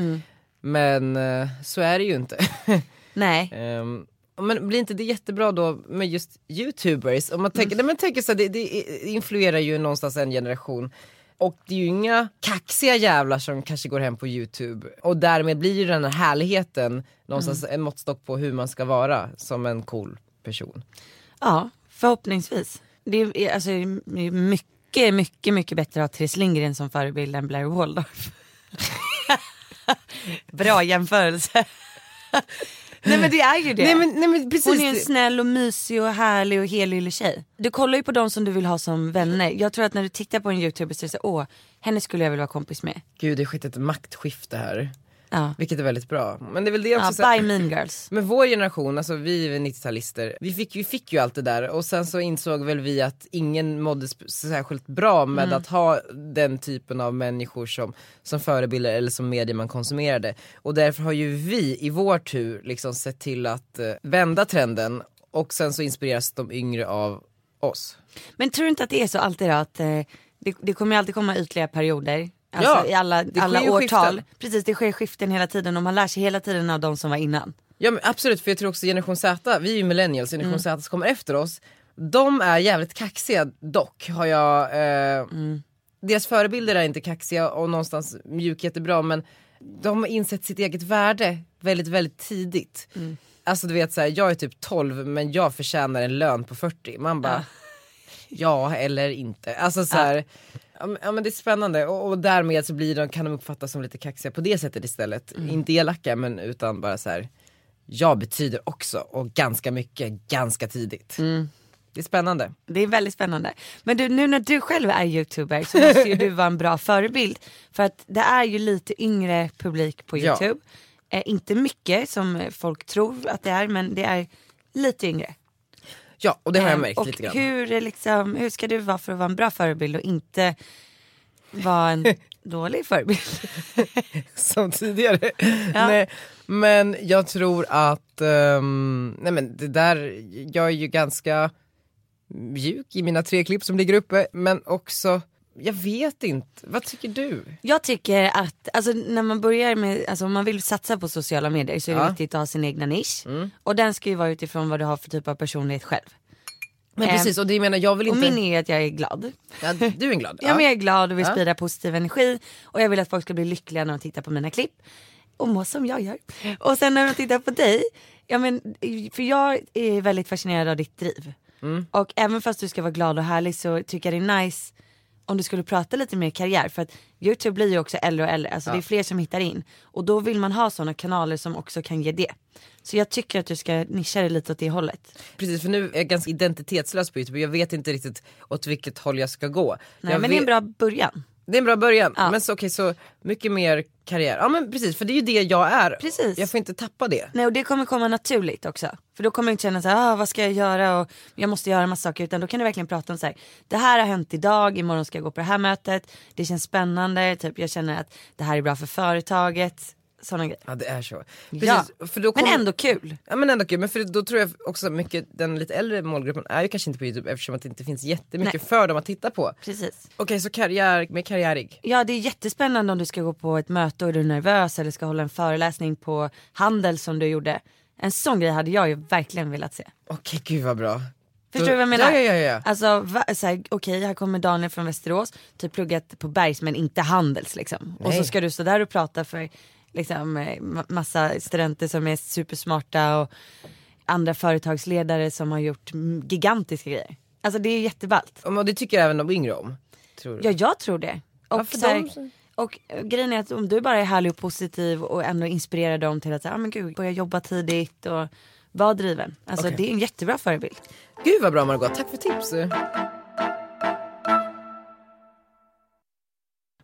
Speaker 1: Men eh, så är det ju inte. [LAUGHS]
Speaker 3: Nej.
Speaker 1: Ehm, men blir inte det jättebra då med just youtubers? Om man tänker, nej,
Speaker 3: Mm.
Speaker 1: men tänker så här, det, det influerar ju någonstans en generation. Och det är ju inga kaxiga jävlar som kanske går hem på youtube. Och därmed blir ju den här härligheten någonstans
Speaker 3: Mm.
Speaker 1: en måttstock på hur man ska vara som en cool person.
Speaker 3: Ja, förhoppningsvis. Det är alltså, det är mycket, mycket, mycket bättre att ha Therese Lindgren som förebild än Blair Waldorf. [LAUGHS] Bra jämförelse. [LAUGHS] Nej men det är ju det.
Speaker 1: Nej men, nej, men precis.
Speaker 3: Hon är en snäll och mysig och härlig och helylle tjej. Du kollar ju på dem som du vill ha som vänner. Jag tror att när du tittar på en youtuber så är det så här, åh, henne skulle jag vilja vara kompis med.
Speaker 1: Gud det har skett ett maktskifte här.
Speaker 3: Ja,
Speaker 1: Vilket är väldigt bra. Men det är väl det också.
Speaker 3: ja
Speaker 1: så här-
Speaker 3: bye mean girls.
Speaker 1: Men vår generation, alltså vi är 90-talister, vi fick, vi fick ju allt det där och sen så insåg väl vi att ingen mådde sp- särskilt bra med att ha den typen av människor som, som förebilder eller som medier man konsumerade. Och därför har ju vi i vår tur liksom sett till att eh, vända trenden och sen så inspireras de yngre av oss.
Speaker 3: Men tror du inte att det är så alltid då att eh, det, det kommer ju alltid komma ytliga perioder. Alltså
Speaker 1: Ja,
Speaker 3: i alla,
Speaker 1: det sker
Speaker 3: alla
Speaker 1: ju
Speaker 3: årtal.
Speaker 1: skiften.
Speaker 3: Precis det sker skiften hela tiden och man lär sig hela tiden av de som var innan.
Speaker 1: Ja men absolut, för jag tror också generation Z, vi är ju millennials, generation Z som kommer efter oss, de är jävligt kaxiga dock har jag, eh, deras förebilder är inte kaxiga och någonstans mjukhet är bra men de har insett sitt eget värde väldigt väldigt tidigt. Alltså du vet såhär, jag är typ 12 men jag förtjänar en lön på 40, man bara ja eller inte. Alltså så här, ja. men- ja men det är spännande och, och därmed så blir de, kan de uppfattas som lite kaxiga på det sättet istället. Inte elaka men utan bara så här. jag betyder också och ganska mycket ganska tidigt. Det är spännande.
Speaker 3: Det är väldigt spännande. Men du, nu när du själv är youtuber
Speaker 1: [LAUGHS]
Speaker 3: så måste ju du vara en bra förebild. För att det är ju lite yngre publik på
Speaker 1: Ja.
Speaker 3: youtube. Eh, inte mycket som folk tror att det är men det är lite yngre.
Speaker 1: Ja och det har jag
Speaker 3: Eh,
Speaker 1: märkt
Speaker 3: och
Speaker 1: lite grann.
Speaker 3: Hur, är liksom, hur ska du vara för att vara en bra förebild och inte var
Speaker 1: [LAUGHS]
Speaker 3: en dålig förebild.
Speaker 1: [LAUGHS] som tidigare. Nej, men jag tror att, ehm, nej men det där, jag är ju ganska mjuk i mina tre klipp som ligger uppe men också, jag vet inte, vad tycker du?
Speaker 3: Jag tycker att, alltså när man börjar med, alltså om man vill satsa på sociala medier så är det
Speaker 1: Ja. Mm.
Speaker 3: viktigt att ha sin egna nisch. Och den ska ju vara utifrån vad du har för typ av personlighet själv.
Speaker 1: Men
Speaker 3: Eh,
Speaker 1: precis, Ehm, och det menar jag vill
Speaker 3: Och
Speaker 1: inte,
Speaker 3: min är ju att jag är glad.
Speaker 1: [LAUGHS] ja, du är en glad.
Speaker 3: Ja, men jag är glad och vill sprida positiv energi och jag vill att folk ska bli lyckliga när de tittar på mina klipp och må som jag gör. Och sen när de tittar på dig, ja, men, för jag är väldigt fascinerad av ditt driv. Och även fast du ska vara glad och härlig så tycker jag det är nice om du skulle prata lite mer karriär för att Youtube blir ju också äldre och äldre, alltså det är fler som hittar in. Och då vill man ha sådana kanaler som också kan ge det. Så jag tycker att du ska nischa dig lite åt det hållet.
Speaker 1: Precis för nu är jag ganska identitetslös på Youtube, jag vet inte riktigt åt vilket håll jag ska gå.
Speaker 3: Nej,
Speaker 1: jag
Speaker 3: men det
Speaker 1: vet-
Speaker 3: är en bra början.
Speaker 1: Det är en bra början,
Speaker 3: Ja.
Speaker 1: men så, okej så mycket mer karriär. Ja men precis, för det är ju det jag är.
Speaker 3: Precis.
Speaker 1: Jag får inte tappa det.
Speaker 3: Nej och det kommer komma naturligt också. För då kommer jag inte känna så här, ah, vad ska jag göra och jag måste göra en massa saker. Utan då kan du verkligen prata om så här, det här har hänt idag, imorgon ska jag gå på det här mötet, det känns spännande, typ jag känner att det här är bra för företaget. Sådana grejer.
Speaker 1: Ja det är så.
Speaker 3: Ja.
Speaker 1: Precis, för då
Speaker 3: Men
Speaker 1: kommer-
Speaker 3: ändå kul.
Speaker 1: Ja men ändå kul, men för då tror jag också mycket, den lite äldre målgruppen är ju kanske inte på youtube eftersom att det inte finns jättemycket för dem att titta på. Okej
Speaker 3: Precis.
Speaker 1: så karriär, med karriärig.
Speaker 3: Ja det är jättespännande om du ska gå på ett möte och är du nervös eller ska hålla en föreläsning på handel som du gjorde. En sån grej hade jag ju verkligen velat se.
Speaker 1: Okej gud vad bra.
Speaker 3: Förstår
Speaker 1: Då-
Speaker 3: du vad jag menar?
Speaker 1: Ja ja ja. ja.
Speaker 3: Alltså va- så här, okej här kommer Daniel från Västerås, typ pluggat på Bergs men inte Handels liksom. Och så
Speaker 1: Nej.
Speaker 3: ska du stå där och prata för liksom eh, ma- massa studenter som är supersmarta och andra företagsledare som har gjort mm, gigantiska grejer. Alltså det är jätteballt.
Speaker 1: Och det tycker även de yngre om. Tror du?
Speaker 3: Ja jag tror det.
Speaker 1: Ja,
Speaker 3: Och,
Speaker 1: för
Speaker 3: så här,
Speaker 1: dem-
Speaker 3: och eh, grejen är att om du bara är härlig och positiv och ändå inspirerar dem till att säga, ah, men gud, börja jobba tidigt och vara driven. Alltså
Speaker 1: Okej.
Speaker 3: det är en jättebra förebild. [LAUGHS]
Speaker 1: Gud vad bra Margot, tack för tips.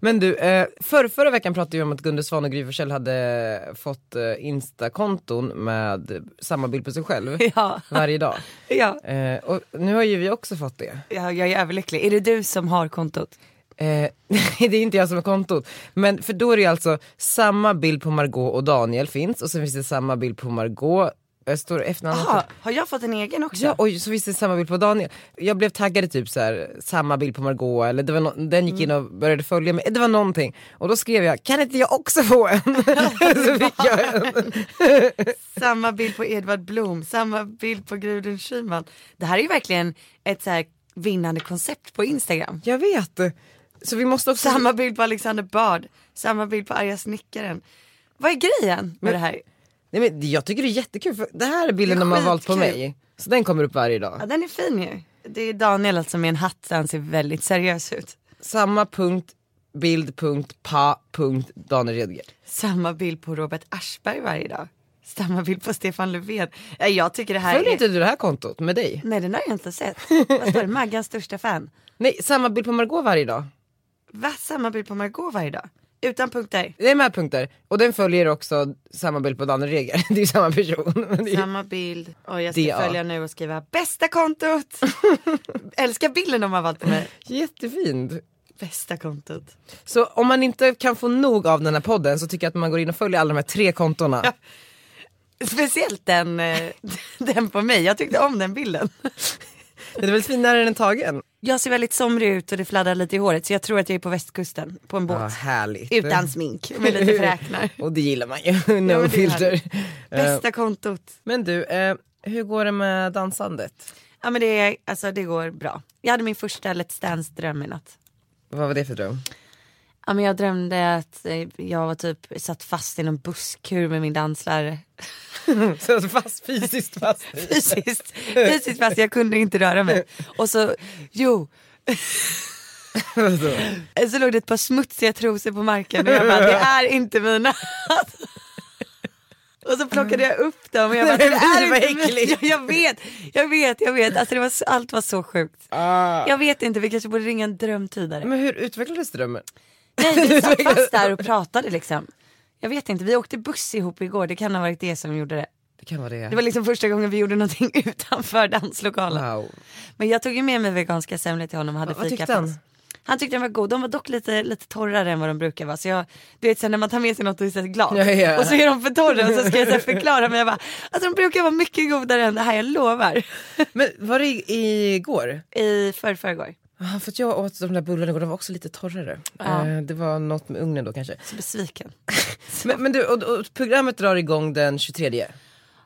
Speaker 1: Men du, eh, förra, förra veckan pratade vi om att Gunde Svan och Gry Forssell hade fått eh, instakonton med samma bild på sig själv
Speaker 3: Ja.
Speaker 1: varje dag.
Speaker 3: Ja.
Speaker 1: Eh, och nu har ju vi också fått det.
Speaker 3: Ja, jag är överlycklig. Är det du som har kontot?
Speaker 1: Eh, [LAUGHS] nej, det är inte jag som har kontot. Men för då är det ju alltså samma bild på Margot och Daniel finns och sen finns det samma bild på Margot. Eh, Står det efternamn?
Speaker 3: Aha, har jag fått en egen också?
Speaker 1: Ja, och så finns det samma bild på Daniel. Jag blev taggad i typ så här, samma bild på Margot eller det var nå- den gick in
Speaker 3: Mm.
Speaker 1: och började följa mig. Det var någonting. Och då skrev jag, kan inte jag också få en? [LAUGHS] så fick jag en.
Speaker 3: Samma bild på Edvard Blom, samma bild på Gudrun Schyman. Det här är ju verkligen ett så här vinnande koncept på Instagram.
Speaker 1: Jag vet. Så vi måste också...
Speaker 3: Samma bild på Alexander Bard, samma bild på arga snickaren. Vad är grejen med det här?
Speaker 1: Nej, men jag tycker det är jättekul för det här är bilden
Speaker 3: Det är
Speaker 1: de har valt på
Speaker 3: skitkul.
Speaker 1: mig. Så den kommer upp varje dag.
Speaker 3: Ja, den är fin ju. Det är Daniel alltså med en hatt så han ser väldigt seriös ut.
Speaker 1: samma punkt, bild, punkt, pa, punkt, Daniel Redger.
Speaker 3: Samma bild på Robert Aschberg varje dag. Samma bild på Stefan Löfven. Nej, Jag tycker det här
Speaker 1: Följer
Speaker 3: är...
Speaker 1: inte du det här kontot med dig?
Speaker 3: Nej den har jag inte [LAUGHS] sett. Vad står det? Maggans största fan.
Speaker 1: Nej, samma bild på Margot varje dag.
Speaker 3: Va? Samma bild på Margot varje dag? Utan punkter?
Speaker 1: Det är med punkter. Och den följer också samma bild på Daniel Redger. [LAUGHS] Det är ju samma person. Men det är...
Speaker 3: Samma bild. Och jag ska
Speaker 1: Det, ja.
Speaker 3: följa nu och skriva
Speaker 1: [LAUGHS]
Speaker 3: bästa kontot. Älskar bilden de har valt på mig.
Speaker 1: Jättefint.
Speaker 3: Bästa kontot.
Speaker 1: Så om man inte kan få nog av den här podden så tycker jag att man går in och följer alla de här tre kontona.
Speaker 3: Speciellt den, eh, [LAUGHS] den på mig. Jag tyckte om den bilden.
Speaker 1: Den är väl finare än tagen?
Speaker 3: Jag ser väldigt somrig ut och det fladdrar lite i håret så jag tror att jag är på västkusten på en båt.
Speaker 1: Ja, härligt. Eh.
Speaker 3: Utan smink med lite fräknar.
Speaker 1: [LAUGHS] Och det gillar man ju. [LAUGHS]
Speaker 3: det är
Speaker 1: No filter. Eh,
Speaker 3: Bästa kontot.
Speaker 1: Men du, eh, hur går det med dansandet?
Speaker 3: Ja men det, är- alltså, det går bra. Jag hade min första Let's Dance dröm i natt.
Speaker 1: Vad var det för dröm?
Speaker 3: Ja, men jag drömde att eh, jag var typ satt fast i någon busskur med min [LAUGHS] danslärare.
Speaker 1: [LAUGHS] Så fast, fysiskt [LAUGHS] fast.
Speaker 3: Fysiskt, fysiskt fast jag kunde inte röra mig. Och så, jo, eh, så låg det ett par smutsiga trosor på marken och jag bara, det är inte mina. [LAUGHS] Och så plockade jag upp dem och jag bara, det
Speaker 1: Nej, men [LAUGHS]
Speaker 3: är
Speaker 1: det var
Speaker 3: inte [LAUGHS] mina.
Speaker 1: äckligt.
Speaker 3: Jag, jag vet, jag vet, jag vet. Alltså det var, så- allt var så sjukt. Jag vet inte, vi kanske borde ringa en drömtydare.
Speaker 1: Ah. [LAUGHS] Men hur utvecklades drömmen?
Speaker 3: Nej vi satt fast
Speaker 1: [LAUGHS]
Speaker 3: där och pratade liksom. Jag vet inte, vi åkte buss ihop igår, det kan ha varit det som gjorde det.
Speaker 1: Det kan vara det.
Speaker 3: Det var liksom första gången vi gjorde någonting [LAUGHS] utanför danslokalen.
Speaker 1: Wow.
Speaker 3: Men jag tog ju med mig veganska semlor till honom och hade
Speaker 1: Vad- vad
Speaker 3: fika
Speaker 1: tyckte
Speaker 3: på
Speaker 1: han?
Speaker 3: oss. Han tyckte den var god, de var dock lite, lite torrare än vad de brukar vara. Så jag, du vet sen när man tar med sig något och är så här glad
Speaker 1: Ja, ja.
Speaker 3: och så är de för torra och så ska jag så här förklara men jag bara, alltså de brukar vara mycket godare än det här, jag lovar. [LAUGHS]
Speaker 1: Men var det i- igår?
Speaker 3: I förrförrgår.
Speaker 1: Ja, för att jag åt de där bullarna igår, de var också lite torrare. Eh, det var något med ugnen då kanske.
Speaker 3: Så besviken.
Speaker 1: Men, men du, och, och programmet drar igång den 23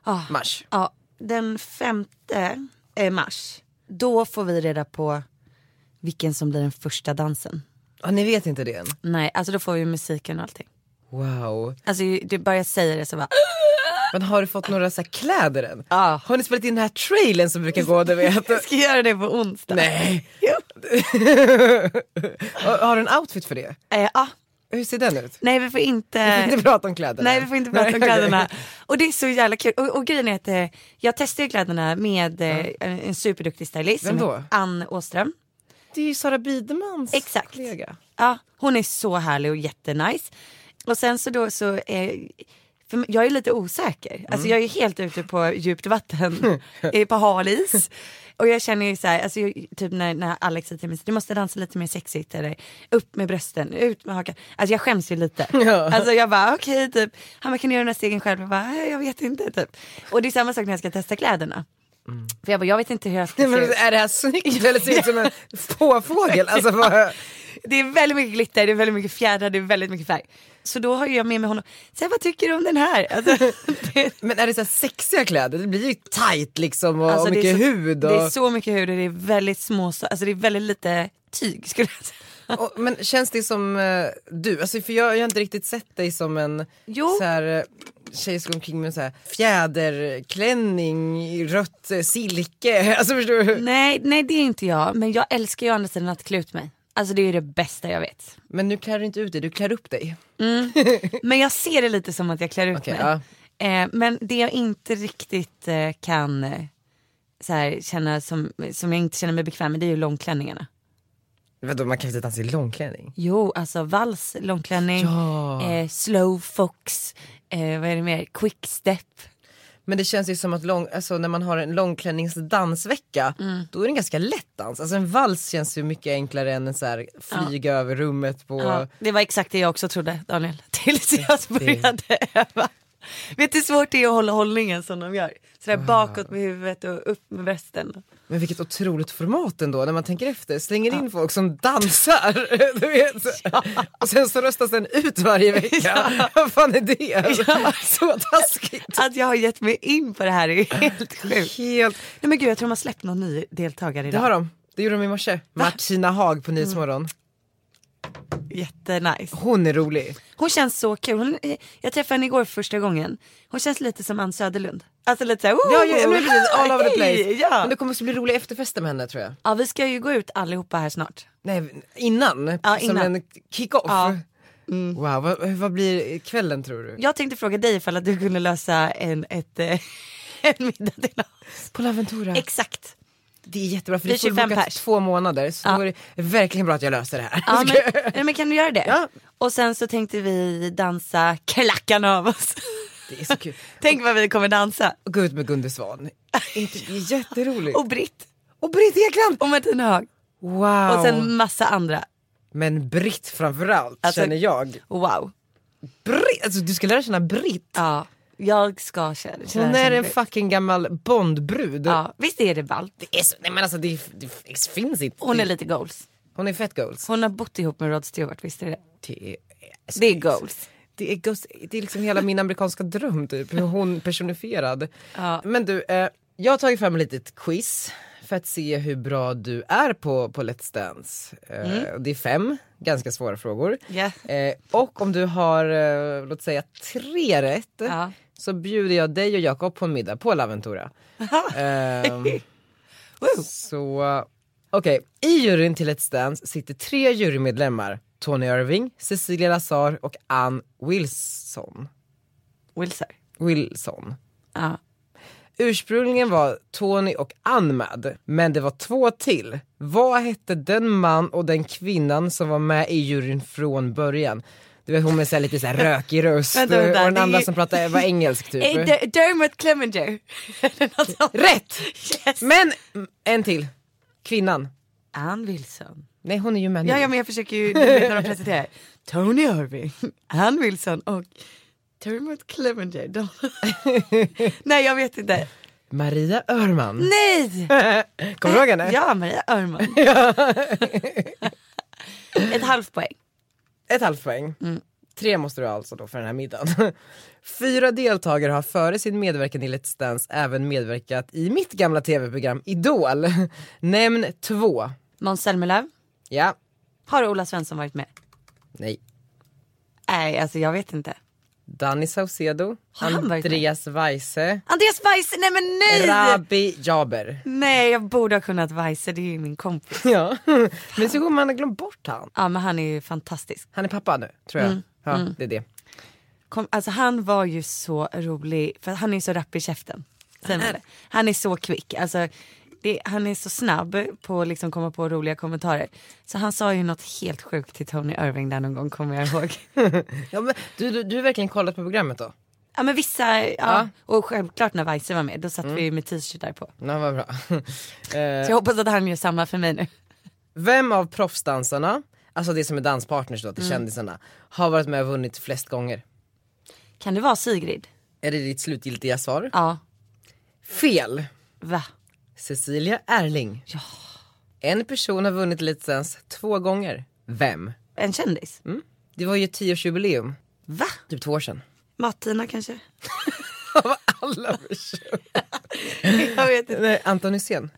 Speaker 3: Ah.
Speaker 1: mars.
Speaker 3: Ja, den femte eh, mars, då får vi reda på vilken som blir den första dansen.
Speaker 1: Ja, ni vet inte det än?
Speaker 3: Nej, alltså då får vi musiken och allting.
Speaker 1: Wow.
Speaker 3: Alltså det bara jag säger det så bara,
Speaker 1: Men har du fått några så här kläder än?
Speaker 3: Ja.
Speaker 1: Har ni spelat in den här trailern som brukar gå, du vet?
Speaker 3: [LAUGHS] jag ska göra det på onsdag.
Speaker 1: Nej.
Speaker 3: Jo.
Speaker 1: [LAUGHS] har, har du en outfit för det?
Speaker 3: Eh, ja.
Speaker 1: Hur ser den ut?
Speaker 3: Nej vi får inte,
Speaker 1: Inte prata om kläderna.
Speaker 3: nej, vi får inte prata om
Speaker 1: Nej, okej.
Speaker 3: kläderna. Och det är så jävla kul. Och, och grejen är att eh, jag testade ju kläderna med eh, en, en superduktig stylist.
Speaker 1: Vem
Speaker 3: som
Speaker 1: då?
Speaker 3: heter Ann Åström.
Speaker 1: Det är ju Sara Bidemans
Speaker 3: Exakt.
Speaker 1: kollega.
Speaker 3: Ja, hon är så härlig och jättenice. Och sen så då så, eh, för jag är lite osäker.
Speaker 1: Mm.
Speaker 3: Alltså jag är helt ute på djupt vatten, [LAUGHS] eh, på hal is. Och jag känner ju så här, alltså jag, typ när, när Alex säger till mig, du måste dansa lite mer sexigt eller upp med brösten, ut med hakan. Alltså jag skäms
Speaker 1: [LAUGHS]
Speaker 3: ju lite. Alltså jag bara okej typ, han bara kan du göra den här stegen själv? Jag bara, "Eh, jag vet inte typ. Och det är samma sak när jag ska testa kläderna. För jag bara, jag vet inte hur jag ska
Speaker 1: Mm. Nej,
Speaker 3: se
Speaker 1: men
Speaker 3: ut.
Speaker 1: är det här snyggt eller ser det ut
Speaker 3: [LAUGHS]
Speaker 1: som en påfågel? Alltså, vad...
Speaker 3: Det är väldigt mycket glitter, det är väldigt mycket fjädrar, det är väldigt mycket färg. Så då har jag med mig honom. Säg vad tycker du om den här?
Speaker 1: [LAUGHS]
Speaker 3: Alltså, det,
Speaker 1: Men är det så här sexiga kläder? Det blir ju tight liksom och,
Speaker 3: alltså,
Speaker 1: och
Speaker 3: det är
Speaker 1: mycket
Speaker 3: så,
Speaker 1: hud. Och,
Speaker 3: Det är så mycket hud och det är väldigt små, alltså det är väldigt lite tyg skulle jag säga.
Speaker 1: och, men känns det som eh, du? Alltså, för jag, jag har inte riktigt sett dig som en
Speaker 3: Jo.
Speaker 1: så här, eh, tjej som går omkring med en så här fjäderklänning i rött eh, silke. [LAUGHS] Alltså förstår du?
Speaker 3: Nej, nej det är inte jag, men jag älskar ju å andra sidan att klä ut mig. Alltså det är ju det bästa jag vet.
Speaker 1: Men nu klär du inte ut dig, du klär upp dig.
Speaker 3: Men jag ser det lite som att jag klär ut
Speaker 1: Okej,
Speaker 3: mig.
Speaker 1: ja.
Speaker 3: Eh, men det jag inte riktigt eh, kan eh, så här, känna som, som jag inte känner mig bekväm med det är ju långklänningarna.
Speaker 1: Vadå man kan inte dansa i långklänning?
Speaker 3: Jo, alltså vals, långklänning, eh, slow fox, eh, vad är det mer, quick step.
Speaker 1: Men det känns ju som att lång, alltså, när man har en långklänningsdansvecka
Speaker 3: Mm.
Speaker 1: då är det en ganska lätt dans. Alltså en vals känns ju mycket enklare än en så här flyga över rummet på...
Speaker 3: Ja, det var exakt det jag också trodde Daniel, [LAUGHS] tills jag började öva. Vet du hur svårt det är att hålla hållningen som de gör? Sådär bakåt med huvudet och upp med brösten.
Speaker 1: Men vilket otroligt format ändå när man tänker efter. Slänger in folk som dansar. [LAUGHS] Du vet. Och sen så röstas den ut varje vecka. [LAUGHS] Vad fan är det? Så taskigt.
Speaker 3: Att Alltså, jag har gett mig in på det här
Speaker 1: [LAUGHS]
Speaker 3: är helt sjukt.
Speaker 1: Helt.
Speaker 3: Nej men gud jag tror de har släppt någon ny deltagare
Speaker 1: Det
Speaker 3: idag.
Speaker 1: har de. Det gjorde de i morse. Martina Haag
Speaker 3: Mm.
Speaker 1: på Nyhetsmorgon.
Speaker 3: Jättenice.
Speaker 1: Hon är rolig.
Speaker 3: Hon känns så kul. Hon, eh, jag träffade henne igår för första gången. Hon känns lite som Ann Söderlund. Alltså lite såhär,
Speaker 1: Ja, ja, men precis, all over the
Speaker 3: [LAUGHS]
Speaker 1: place.
Speaker 3: Ja.
Speaker 1: Men det kommer också bli roliga efterfester med henne tror jag.
Speaker 3: ja vi ska ju gå ut allihopa här snart.
Speaker 1: Nej, innan.
Speaker 3: Ja,
Speaker 1: som
Speaker 3: innan.
Speaker 1: en kick-off.
Speaker 3: Ja. Mm.
Speaker 1: Wow, vad, vad blir kvällen tror du?
Speaker 3: Jag tänkte fråga dig ifall att du kunde lösa en, ett, eh, [LAUGHS] en middag till oss.
Speaker 1: På Laventura.
Speaker 3: Exakt.
Speaker 1: det är jättebra för
Speaker 3: vi
Speaker 1: det är
Speaker 3: är 25
Speaker 1: fullbokat
Speaker 3: pers.
Speaker 1: två månader. Så
Speaker 3: Ja.
Speaker 1: då är det verkligen bra att jag löser det här. [LAUGHS]
Speaker 3: Ja, men, nej, [LAUGHS] men kan du göra det?
Speaker 1: Ja.
Speaker 3: Och sen så tänkte vi dansa klackarna av oss. [LAUGHS]
Speaker 1: Det är så kul.
Speaker 3: Tänk vad vi kommer dansa.
Speaker 1: Och gå ut med Gunde Svan. Inte- Det är jätteroligt.
Speaker 3: [LAUGHS] Och Britt
Speaker 1: och Britt Ekland!
Speaker 3: och Martina Haag.
Speaker 1: Wow!
Speaker 3: Och sen massa andra.
Speaker 1: Men Britt framförallt
Speaker 3: Alltså-
Speaker 1: känner jag.
Speaker 3: Wow.
Speaker 1: Britt, alltså, du ska lära känna Britt.
Speaker 3: Ja, jag ska köra.
Speaker 1: Hon är en fucking gammal Bondbrud.
Speaker 3: Ja, visst är det ballt?
Speaker 1: Det, är så, nej, men alltså, det, det finns inte.
Speaker 3: Hon är lite goals.
Speaker 1: Hon är fett goals.
Speaker 3: Hon har bott ihop med Rod Stewart, visst är det?
Speaker 1: Det är, alltså,
Speaker 3: Det är goals.
Speaker 1: Det är, goals, det är liksom hela min amerikanska dröm typ. Hur
Speaker 3: [LAUGHS]
Speaker 1: hon personifierad. Men du, eh, jag har tagit fram ett litet quiz för att se hur bra du är på, på Let's Dance. Eh, Det är fem ganska svåra frågor.
Speaker 3: Mm. Ja.
Speaker 1: Eh, och om du har, eh, låt säga tre rätt,
Speaker 3: Ja.
Speaker 1: så bjuder jag dig och Jakob på en middag på Laventura. Ehm, så, okej. I juryn till Let's Dance sitter tre jurymedlemmar. Tony Irving, Cecilia Lazar och Ann Wilson.
Speaker 3: Wilson.
Speaker 1: Wilson.
Speaker 3: Ja.
Speaker 1: Ursprungligen var Tony och Ann med, men det var två till. Vad hette den man och den kvinnan som var med i juryn från början? Du vet hon med så här lite så här rökig röst
Speaker 3: [LAUGHS] Vänta, vänta,
Speaker 1: och den
Speaker 3: det är
Speaker 1: andra
Speaker 3: ju-
Speaker 1: som pratade var engelsk typ.
Speaker 3: Eh, D- Dermot Clemenger. [LAUGHS]
Speaker 1: Rätt!
Speaker 3: yes.
Speaker 1: Men en till. Kvinnan.
Speaker 3: Ann Wilson.
Speaker 1: Nej hon är ju människa.
Speaker 3: Ja, ja men jag försöker ju du vet när de presenterar. Tony Irving, Ann Wilson och Dermot Clemenger. De... [LAUGHS] Nej jag vet inte. Eh,
Speaker 1: Maria Örman.
Speaker 3: Nej!
Speaker 1: Kommer du ihåg henne?
Speaker 3: Ja, Maria [LAUGHS] Örman. Ett halvt poäng.
Speaker 1: Ett halvt poäng.
Speaker 3: Mm.
Speaker 1: Tre måste du ha alltså då för den här middagen. [LAUGHS] Fyra deltagare har före sin medverkan i Let's Dance även medverkat i mitt gamla tv-program Idol. [LAUGHS] Nämn två.
Speaker 3: Måns Zelmerlöw,
Speaker 1: Ja,
Speaker 3: har Ola Svensson varit med?
Speaker 1: nej.
Speaker 3: Nej, alltså jag vet inte.
Speaker 1: Danny Saucedo,
Speaker 3: Har han varit med?
Speaker 1: Andreas Weise,
Speaker 3: Andreas Weise, nej men nej!
Speaker 1: Rabi Jaber. [LAUGHS]
Speaker 3: Nej, jag borde ha kunnat Weise, det är ju min kompis.
Speaker 1: Ja. Men så man har glömt bort han.
Speaker 3: Ja men han är ju fantastisk.
Speaker 1: Han är pappa nu, tror
Speaker 3: Mm.
Speaker 1: jag. Ja, det är det.
Speaker 3: Kom, alltså han var ju så rolig, för han är ju så rapp i käften. Zelmerlöw. Han är så kvick, alltså det, han är så snabb på att liksom komma på roliga kommentarer. Så han sa ju något helt sjukt till Tony Irving där någon gång kommer jag ihåg.
Speaker 1: Ja, men, du, du, du har verkligen kollat på programmet då?
Speaker 3: Ja men vissa, ja. Och självklart när Weise var med, då satt vi ju med t-shirtar på.
Speaker 1: Ja, vad bra. Eh,
Speaker 3: Så jag hoppas att han gör samma för mig nu.
Speaker 1: Vem av proffsdansarna, alltså det som är danspartners
Speaker 3: Mm.
Speaker 1: då till kändisarna, har varit med och vunnit flest gånger?
Speaker 3: Kan det vara Sigrid?
Speaker 1: Är det ditt slutgiltiga svar?
Speaker 3: Ja.
Speaker 1: Fel!
Speaker 3: Va?
Speaker 1: Cecilia Erling. En person har vunnit Let's Dance två gånger. Vem?
Speaker 3: En kändis?
Speaker 1: Det var ju 10-årsjubileum,
Speaker 3: Va?
Speaker 1: typ två år
Speaker 3: [LAUGHS]
Speaker 1: sedan.
Speaker 3: Martina kanske?
Speaker 1: Av alla personer.
Speaker 3: [LAUGHS] jag vet inte.
Speaker 1: Nej, Anton Hysén.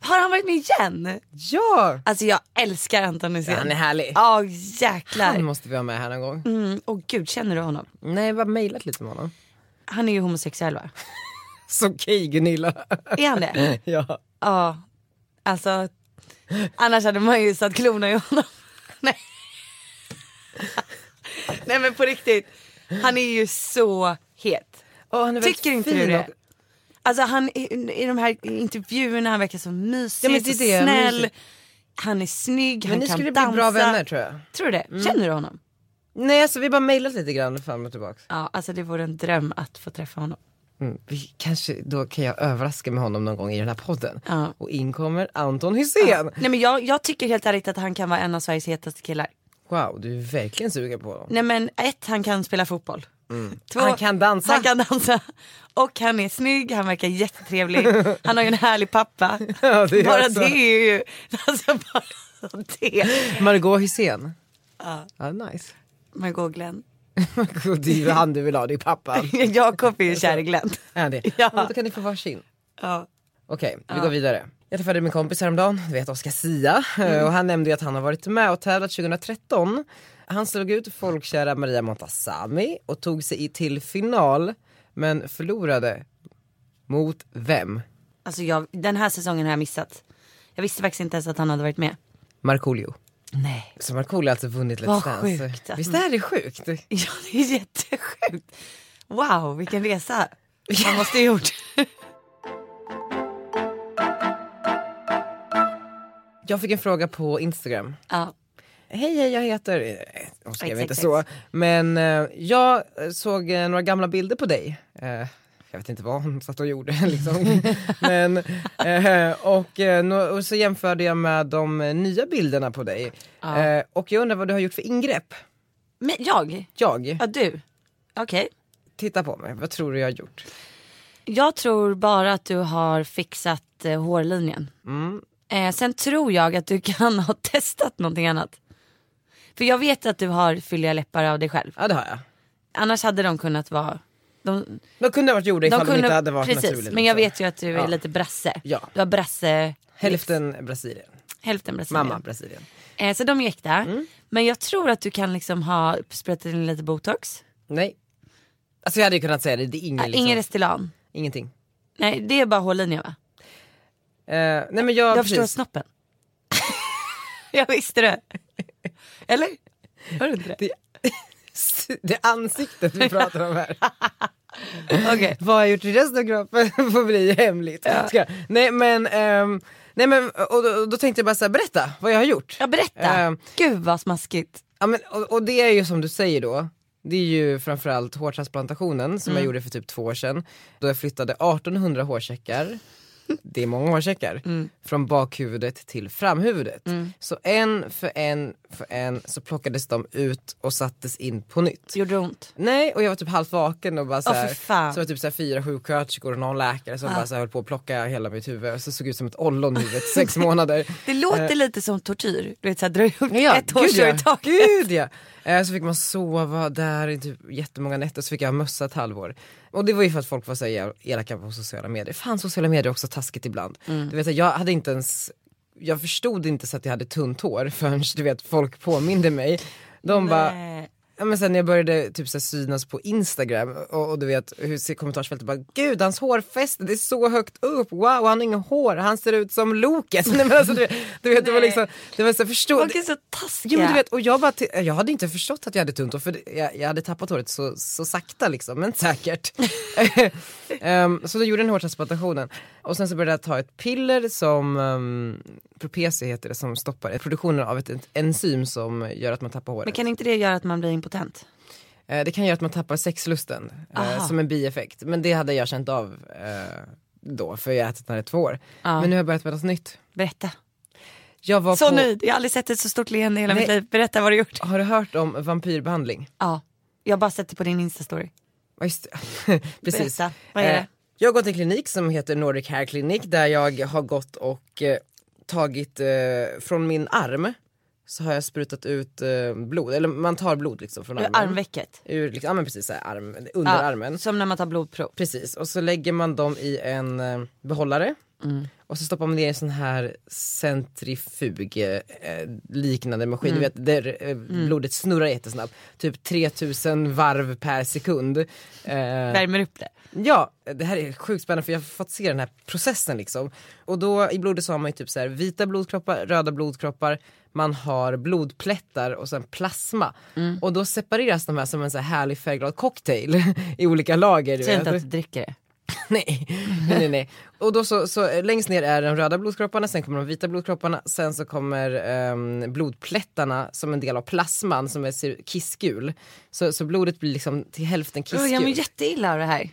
Speaker 3: Har han varit med igen?
Speaker 1: Ja!
Speaker 3: Alltså jag älskar Anton Hysén.
Speaker 1: Han är härlig.
Speaker 3: Ja jäklar.
Speaker 1: Han måste vi ha med här någon gång.
Speaker 3: Mm, och gud, känner du honom?
Speaker 1: Nej, jag har bara mejlat lite med honom.
Speaker 3: Han är ju homosexuell va?
Speaker 1: Så okej Gunilla. [LAUGHS]
Speaker 3: Är han det?
Speaker 1: ja.
Speaker 3: [LAUGHS] Ja. Alltså, annars hade man ju satt klona i honom. [LAUGHS] Nej. Nej men på riktigt, han är ju så het.
Speaker 1: Åh, han är väldigt
Speaker 3: Tycker inte du
Speaker 1: fin
Speaker 3: det?
Speaker 1: och-
Speaker 3: Alltså han i, i de här intervjuerna, han verkar så
Speaker 1: Ja,
Speaker 3: mysig,
Speaker 1: men det är
Speaker 3: så
Speaker 1: det, han är
Speaker 3: snäll. Han är snygg,
Speaker 1: Men
Speaker 3: han
Speaker 1: ni
Speaker 3: kan
Speaker 1: skulle
Speaker 3: dansa.
Speaker 1: bli bra vänner Mm. tror jag.
Speaker 3: Tror du det? Känner du honom?
Speaker 1: Nej alltså vi bara mejlat lite grann fram och tillbaka.
Speaker 3: Ja, alltså det vore en dröm att få träffa honom.
Speaker 1: Mm. Vi kanske, då kan jag överraska med honom någon gång i den här podden.
Speaker 3: Ja.
Speaker 1: Och in kommer Anton Hysén.
Speaker 3: Nej men jag, jag tycker helt ärligt att han kan vara en av Sveriges hetaste killar.
Speaker 1: Wow, du är verkligen sugen på honom.
Speaker 3: Nej men ett, han kan spela fotboll. [LAUGHS] Två,
Speaker 1: Han kan dansa.
Speaker 3: Han kan dansa. Och han är snygg, han verkar jättetrevlig. Han har ju en härlig pappa.
Speaker 1: [LAUGHS] Ja, det är
Speaker 3: bara
Speaker 1: också.
Speaker 3: det är ju... Alltså bara det.
Speaker 1: Margot Hysén. Ja. nice. [LAUGHS]
Speaker 3: Margot Glenn. [LAUGHS]
Speaker 1: Margot, det är ju han du vill ha, det är pappan.
Speaker 3: Jakob är ju kär i Glenn.
Speaker 1: Är det?
Speaker 3: Ja.
Speaker 1: Men Då kan ni få varsin.
Speaker 3: Ja.
Speaker 1: Okej, vi går vidare. Jag träffade min kompis häromdagen, du vet Oscar Sia.
Speaker 3: Mm.
Speaker 1: Eh, Och han nämnde ju att han har varit med och tävlat 2013. Han slog ut folkkära Maria Montazami och tog sig i till final. Men förlorade. Mot vem?
Speaker 3: Alltså jag, den här säsongen har jag missat. Jag visste faktiskt inte ens att han hade varit med.
Speaker 1: Markoolio.
Speaker 3: Nej.
Speaker 1: Så Markoolio har alltså vunnit Let's
Speaker 3: Vad
Speaker 1: Dance.
Speaker 3: sjukt Mm. att-
Speaker 1: Visst är det sjukt?
Speaker 3: [LAUGHS] Ja det är jättesjukt. Wow vilken [LAUGHS] resa han måste ha gjort.
Speaker 1: Jag fick en fråga på Instagram.
Speaker 3: ja.
Speaker 1: Hej hej jag heter, eh, hon skrev
Speaker 3: Exakt,
Speaker 1: inte
Speaker 3: exakt.
Speaker 1: så, men eh, jag eh, såg eh, några gamla bilder på dig. Eh, jag vet inte vad hon satt och gjorde [LAUGHS] liksom. men, eh, och, eh, nå- och så jämförde jag med de eh, nya bilderna på dig. Eh, och jag undrar vad du har gjort för ingrepp?
Speaker 3: Men jag?
Speaker 1: Jag,
Speaker 3: Ja du. Okej.
Speaker 1: titta på mig, vad tror du jag har gjort?
Speaker 3: Jag tror bara att du har fixat eh, hårlinjen.
Speaker 1: Mm.
Speaker 3: Eh, sen tror jag att du kan [LAUGHS] ha testat någonting annat. För jag vet att du har fylliga läppar av dig själv.
Speaker 1: Ja det har jag.
Speaker 3: Annars hade de kunnat vara... De,
Speaker 1: De kunde ha varit gjorda
Speaker 3: de
Speaker 1: ifall de,
Speaker 3: kunde,
Speaker 1: inte hade varit
Speaker 3: precis,
Speaker 1: naturligt.
Speaker 3: men jag
Speaker 1: liksom.
Speaker 3: vet ju att du
Speaker 1: Ja.
Speaker 3: är lite brasse.
Speaker 1: Ja.
Speaker 3: Du har brasse...
Speaker 1: Hälften Brasilien,
Speaker 3: Hälften brasse.
Speaker 1: mamma Mm. Brasilien.
Speaker 3: Eh, så de är äkta. Men jag tror att du kan liksom ha sprutat in lite botox.
Speaker 1: Nej. Alltså jag hade ju kunnat säga det, det är ingen,
Speaker 3: Ingen,
Speaker 1: liksom,
Speaker 3: Ingen Restylane.
Speaker 1: ingenting.
Speaker 3: Nej det är bara hårlinjen va?
Speaker 1: Eh, nej men jag,
Speaker 3: jag
Speaker 1: precis. [LAUGHS]
Speaker 3: förstår snoppen. jag visste det. Eller? Hör du inte det?
Speaker 1: Det, det [LAUGHS] är ansiktet vi pratar om här.
Speaker 3: [LAUGHS] Okej.
Speaker 1: Vad har jag gjort i resten av kroppen [LAUGHS] får bli hemligt. Ska jag- Nej men, ehm, nej, men och, då- och då tänkte jag bara så här, berätta vad jag har gjort.
Speaker 3: Ja berätta.
Speaker 1: Ehm.
Speaker 3: Gud vad smaskigt.
Speaker 1: Ja, men, och, och det är ju som du säger då, det är ju framförallt
Speaker 3: Mm. [LAUGHS]
Speaker 1: hårtransplantationen som jag gjorde för typ två år sedan. Då jag flyttade 1800 hårsäckar det är många hårsäckar.
Speaker 3: Mm.
Speaker 1: Från bakhuvudet till framhuvudet. Så en för en för en så plockades de ut och sattes in på nytt.
Speaker 3: Gjorde det ont?
Speaker 1: Nej och jag var typ halvt vaken och bara så här,
Speaker 3: för fan. Ah.
Speaker 1: så var det typ så här fyra sjuksköterskor och någon läkare som bara så här höll på att plocka hela mitt huvud och så såg jag ut som ett ollon i huvudet
Speaker 3: [LAUGHS]
Speaker 1: sex månader.
Speaker 3: Det låter lite som tortyr. Du vet såhär dra upp
Speaker 1: Eh. Ja,
Speaker 3: ett hårstrå i taget.
Speaker 1: Gud ja. Eh, Så fick man sova där i typ jättemånga nätter, så fick jag ha mössa ett halvår. Och det var ju för att folk var så här jävla elaka på sociala medier. Fan sociala medier är också taskigt ibland.
Speaker 3: Mm.
Speaker 1: Du vet, jag hade inte ens, jag förstod inte så att jag hade tunt hår förrän du vet folk påminde mig. De bara,
Speaker 3: Nej.
Speaker 1: ja, men sen när jag började typ så här synas på instagram och, och du vet hur ser kommentarsfältet bara gud hans hårfäste det är så högt upp, wow han har inga hår, han ser ut som Loket. [LAUGHS] Nej, men alltså, du, vet- du vet det var liksom, det var så här, förstå,
Speaker 3: Folk är så taskiga.
Speaker 1: Jo men du vet, och jag, bara t- jag hade inte förstått att jag hade tunt hår för det- jag, jag hade tappat håret så, så sakta liksom, men säkert. Ehm, så då gjorde jag den hårtransplantationen och sen så började jag ta ett piller som, um, Propecia heter det, som stoppar produktionen av ett en- enzym som gör att man tappar håret.
Speaker 3: Men kan inte det göra att man blir impotent?
Speaker 1: Eh, det kan göra att man tappar sexlusten eh,
Speaker 3: Aha.
Speaker 1: som en bieffekt, men det hade jag känt av eh, då för jag har ätit den här i två år. Men nu har jag börjat med något nytt.
Speaker 3: Berätta.
Speaker 1: Jag var
Speaker 3: Så
Speaker 1: på,
Speaker 3: nöjd, jag har aldrig sett ett så stort leende i hela
Speaker 1: Nej.
Speaker 3: mitt liv. Berätta vad du gjort.
Speaker 1: Har du hört om vampyrbehandling?
Speaker 3: Ja, jag har bara sett det på din instastory.
Speaker 1: Ja, Just, det. [LAUGHS] precis.
Speaker 3: Berätta, vad är det?
Speaker 1: Eh, Jag har gått till en klinik som heter Nordic Hair Clinic där jag har gått och eh, tagit eh, från min arm så har jag sprutat ut eh, blod, eller man tar blod liksom från
Speaker 3: Ur
Speaker 1: armen.
Speaker 3: armvecket.
Speaker 1: Ur, liksom, ja men precis, så här, arm, under armen.
Speaker 3: Ja, som när man tar blodprov.
Speaker 1: Precis, och så lägger man dem i en eh, behållare
Speaker 3: Mm.
Speaker 1: och så stoppar man ner i en sån här centrifug eh, eh, liknande maskin,
Speaker 3: Mm.
Speaker 1: du vet, där eh, blodet snurrar jättesnabbt. Typ 3000 varv per sekund. Eh,
Speaker 3: Värmer upp det.
Speaker 1: Ja, det här är sjukt spännande för jag har fått se den här processen liksom. Och då i blodet så har man ju typ så här vita blodkroppar, röda blodkroppar, man har blodplättar och sen plasma.
Speaker 3: Mm.
Speaker 1: Och då separeras de här som en så här härlig färgglad cocktail [LAUGHS] i olika lager. du
Speaker 3: Säg
Speaker 1: vet.
Speaker 3: inte att du dricker det.
Speaker 1: [LAUGHS] Nej, nej, nej, nej. Och då så, så eh, längst ner är de röda blodkropparna, sen kommer de vita blodkropparna, sen så kommer ehm, blodplättarna som en del av plasman som är ser kissgul. Så, så blodet blir liksom till hälften
Speaker 3: Oh,
Speaker 1: kissgul.
Speaker 3: jag mår jätteilla av det här.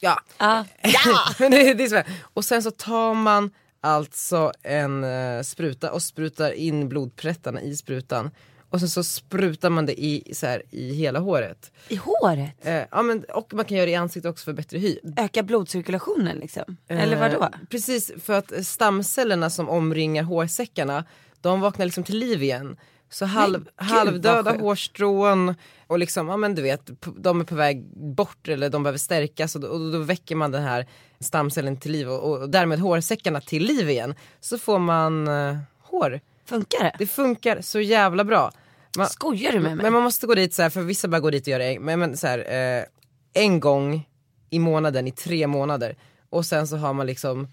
Speaker 1: ja.
Speaker 3: Ja.
Speaker 1: [LAUGHS] Men det, det är så här. och sen så tar man alltså en eh, spruta och sprutar in blodplättarna i sprutan. Och sen så sprutar man det i, så här, i hela håret.
Speaker 3: I håret?
Speaker 1: Eh, ja, men, och man kan göra det i ansiktet också för bättre hy.
Speaker 3: Ökar blodcirkulationen liksom? Eller vadå?
Speaker 1: Eh, Precis, för att eh, stamcellerna som omringar hårsäckarna, de vaknar liksom till liv igen. Så halv, halvdöda
Speaker 3: sjukt.
Speaker 1: hårstrån och liksom, ja men du vet, p- de är på väg bort eller de behöver stärkas och då, och då väcker man den här stamcellen till liv och, och, därmed hårsäckarna till liv igen. Så får man eh, hår.
Speaker 3: Funkar det?
Speaker 1: Det funkar så jävla bra. Man,
Speaker 3: Skojar du med mig?
Speaker 1: men man måste gå dit så här, för vissa bara går dit och gör det en, men, men så här, eh, en gång i månaden i tre månader och sen så har man liksom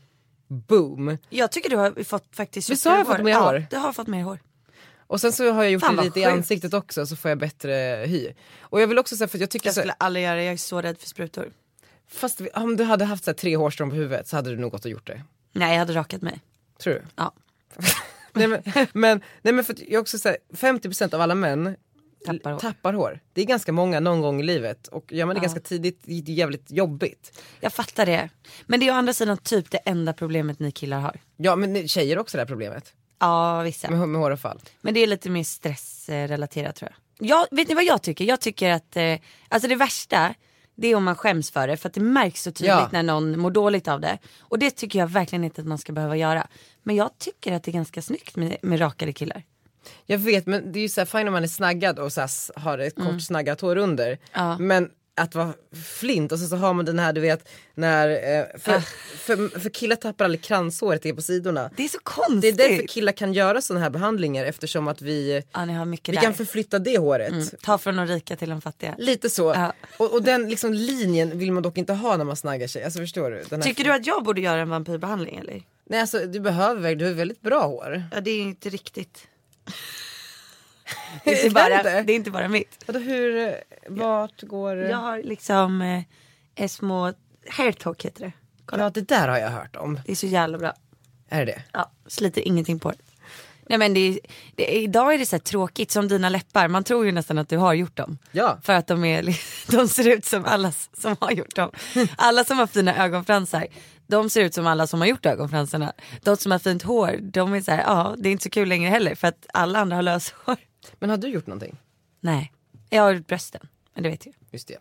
Speaker 1: boom.
Speaker 3: Jag tycker du har fått faktiskt
Speaker 1: Visst har jag fått mer hår?
Speaker 3: Ja, du har fått mer hår.
Speaker 1: Och sen så har jag gjort
Speaker 3: Fan,
Speaker 1: det
Speaker 3: vad
Speaker 1: lite i
Speaker 3: sjukt.
Speaker 1: ansiktet också så får jag bättre hy. Och jag vill också säga för att jag tycker
Speaker 3: Jag
Speaker 1: så här,
Speaker 3: skulle aldrig göra det, jag är så rädd för sprutor.
Speaker 1: fast vi- om du hade haft så här, tre hårstrån på huvudet så hade du nog gått och gjort det.
Speaker 3: Nej jag hade rakat mig.
Speaker 1: Tror du?
Speaker 3: Ja.
Speaker 1: nej, men, [LAUGHS] men, nej men för att jag också säger 50% av alla män
Speaker 3: Tappar hår.
Speaker 1: tappar hår. Det är ganska många någon gång i livet och gör man det ganska tidigt det är jävligt jobbigt.
Speaker 3: Jag fattar det. Men det är å andra sidan typ det enda problemet ni killar har.
Speaker 1: Ja men ni- tjejer har också det här problemet
Speaker 3: Ja vissa.
Speaker 1: med, med håravfall.
Speaker 3: Men det är lite mer stressrelaterat tror jag. jag. Vet ni vad jag tycker? Jag tycker att eh, alltså det värsta det är om man skäms för det för att det märks så tydligt
Speaker 1: Ja.
Speaker 3: när någon mår dåligt av det. Och det tycker jag verkligen inte att man ska behöva göra. Men jag tycker att det är ganska snyggt med, med rakade killar.
Speaker 1: Jag vet men det är ju såhär fine om man är snaggad och så här, s- har ett
Speaker 3: Mm.
Speaker 1: kort snaggat hår under. Men att vara flint och sen så har man den här du vet när, eh,
Speaker 3: Ah.
Speaker 1: för, för, för killar tappar aldrig kranshåret det är på sidorna.
Speaker 3: Det är så
Speaker 1: Det är
Speaker 3: konstigt.
Speaker 1: därför killar kan göra sådana här behandlingar eftersom att vi,
Speaker 3: ja ni har mycket
Speaker 1: vi
Speaker 3: där.
Speaker 1: kan förflytta det håret.
Speaker 3: Ta från de rika till de fattiga.
Speaker 1: Lite så.
Speaker 3: Mm. Ja.
Speaker 1: Och, och den liksom, linjen vill man dock inte ha när man snaggar sig. Alltså förstår du? Den här-
Speaker 3: Tycker du att jag borde göra en vampyrbehandling eller?
Speaker 1: Nej alltså du behöver, verkligen- du har väldigt bra hår.
Speaker 3: Ja det är ju inte riktigt.
Speaker 1: Det
Speaker 3: Det är, bara, det är inte bara mitt.
Speaker 1: Vadå hur, eh, vart går...
Speaker 3: Jag har liksom eh, eh, små hairtalk heter det.
Speaker 1: Ja det där har jag hört om.
Speaker 3: Det är så jävla bra.
Speaker 1: Är det
Speaker 3: Ja, sliter ingenting på det. Nej men det, är- det, är- idag är det så här tråkigt som dina läppar. Man tror ju nästan att du har gjort dem.
Speaker 1: Ja.
Speaker 3: För [LAUGHS] att de, är, li- de ser ut som alla s- som har gjort dem. Alla som har fina ögonfransar. de ser ut som alla som har gjort ögonfransarna. De som har fint hår, de är så här, ja det är inte så kul längre heller för att alla andra har löshår.
Speaker 1: Men har du gjort någonting?
Speaker 3: Nej, jag har gjort brösten, men det vet jag.
Speaker 1: Just det.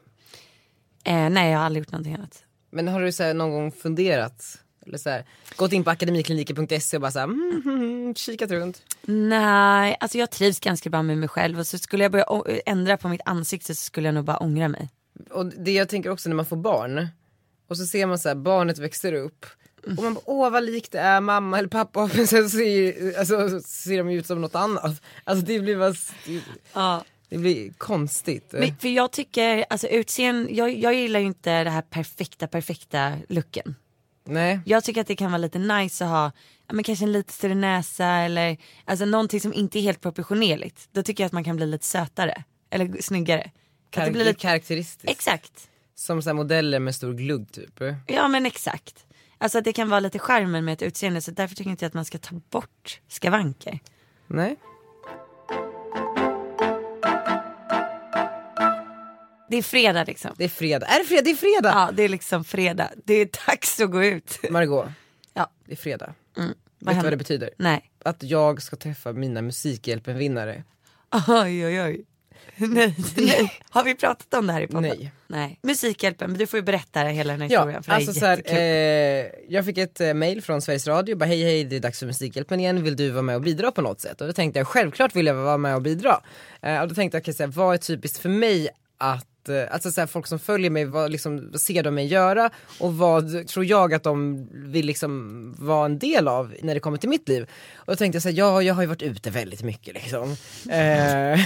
Speaker 3: Eh, nej jag har aldrig gjort någonting annat.
Speaker 1: Men har du så här, någon gång funderat? Eller så här, gått in på akademikliniker.se och bara så här, mm, mm, mm, kikat runt.
Speaker 3: Nej, alltså jag trivs ganska bra med mig själv och så skulle jag börja å- ändra på mitt ansikte så skulle jag nog bara ångra mig.
Speaker 1: Och det jag tänker också när man får barn och så ser man så här, barnet växer upp och man bara, åh vad likt det är mamma eller pappa [LAUGHS] men sen ser, alltså, så ser de ju ut som något annat. Alltså det blir bara,
Speaker 3: Ja.
Speaker 1: det blir konstigt.
Speaker 3: Men, för jag tycker, alltså utseende, jag, jag gillar ju inte det här perfekta, perfekta looken.
Speaker 1: Nej.
Speaker 3: Jag tycker att det kan vara lite nice att ha ja, men kanske en lite större näsa eller alltså någonting som inte är helt proportionerligt. Då tycker jag att man kan bli lite sötare eller g- snyggare. Att
Speaker 1: Kar-
Speaker 3: det blir
Speaker 1: lite
Speaker 3: lite...
Speaker 1: karaktäristiskt.
Speaker 3: Exakt,
Speaker 1: Som så här modeller med stor glugg typ.
Speaker 3: ja men exakt. Alltså att det kan vara lite charmen med ett utseende så därför tycker inte jag att man ska ta bort skavanker.
Speaker 1: Nej.
Speaker 3: Det är fredag liksom.
Speaker 1: Det är fredag. Är det fredag? Det är fredag!
Speaker 3: Ja det är liksom fredag, det är dags att gå ut.
Speaker 1: Margot.
Speaker 3: Ja.
Speaker 1: Det är fredag. Vet du
Speaker 3: händer?
Speaker 1: vad det betyder?
Speaker 3: Nej,
Speaker 1: Att jag ska träffa mina Musikhjälpen-vinnare.
Speaker 3: oj oj oj. Nej, nej. Har vi pratat om det här i podden?
Speaker 1: Nej.
Speaker 3: Nej. Musikhjälpen, men du får ju berätta hela den här
Speaker 1: Ja,
Speaker 3: historien för
Speaker 1: alltså
Speaker 3: det är
Speaker 1: så här,
Speaker 3: jättekul.
Speaker 1: eh, jag fick ett eh, mail från Sveriges Radio, bara hej hej det är dags för Musikhjälpen igen, vill du vara med och bidra på något sätt? Och då tänkte jag självklart vill jag vara med och bidra. Eh, och då tänkte jag, okay, så här, vad är typiskt för mig att, eh, alltså så här, folk som följer mig, vad liksom, vad ser de mig göra och vad tror jag att de vill liksom vara en del av när det kommer till mitt liv? Och då tänkte jag så här, ja jag har ju varit ute väldigt mycket liksom. Eh,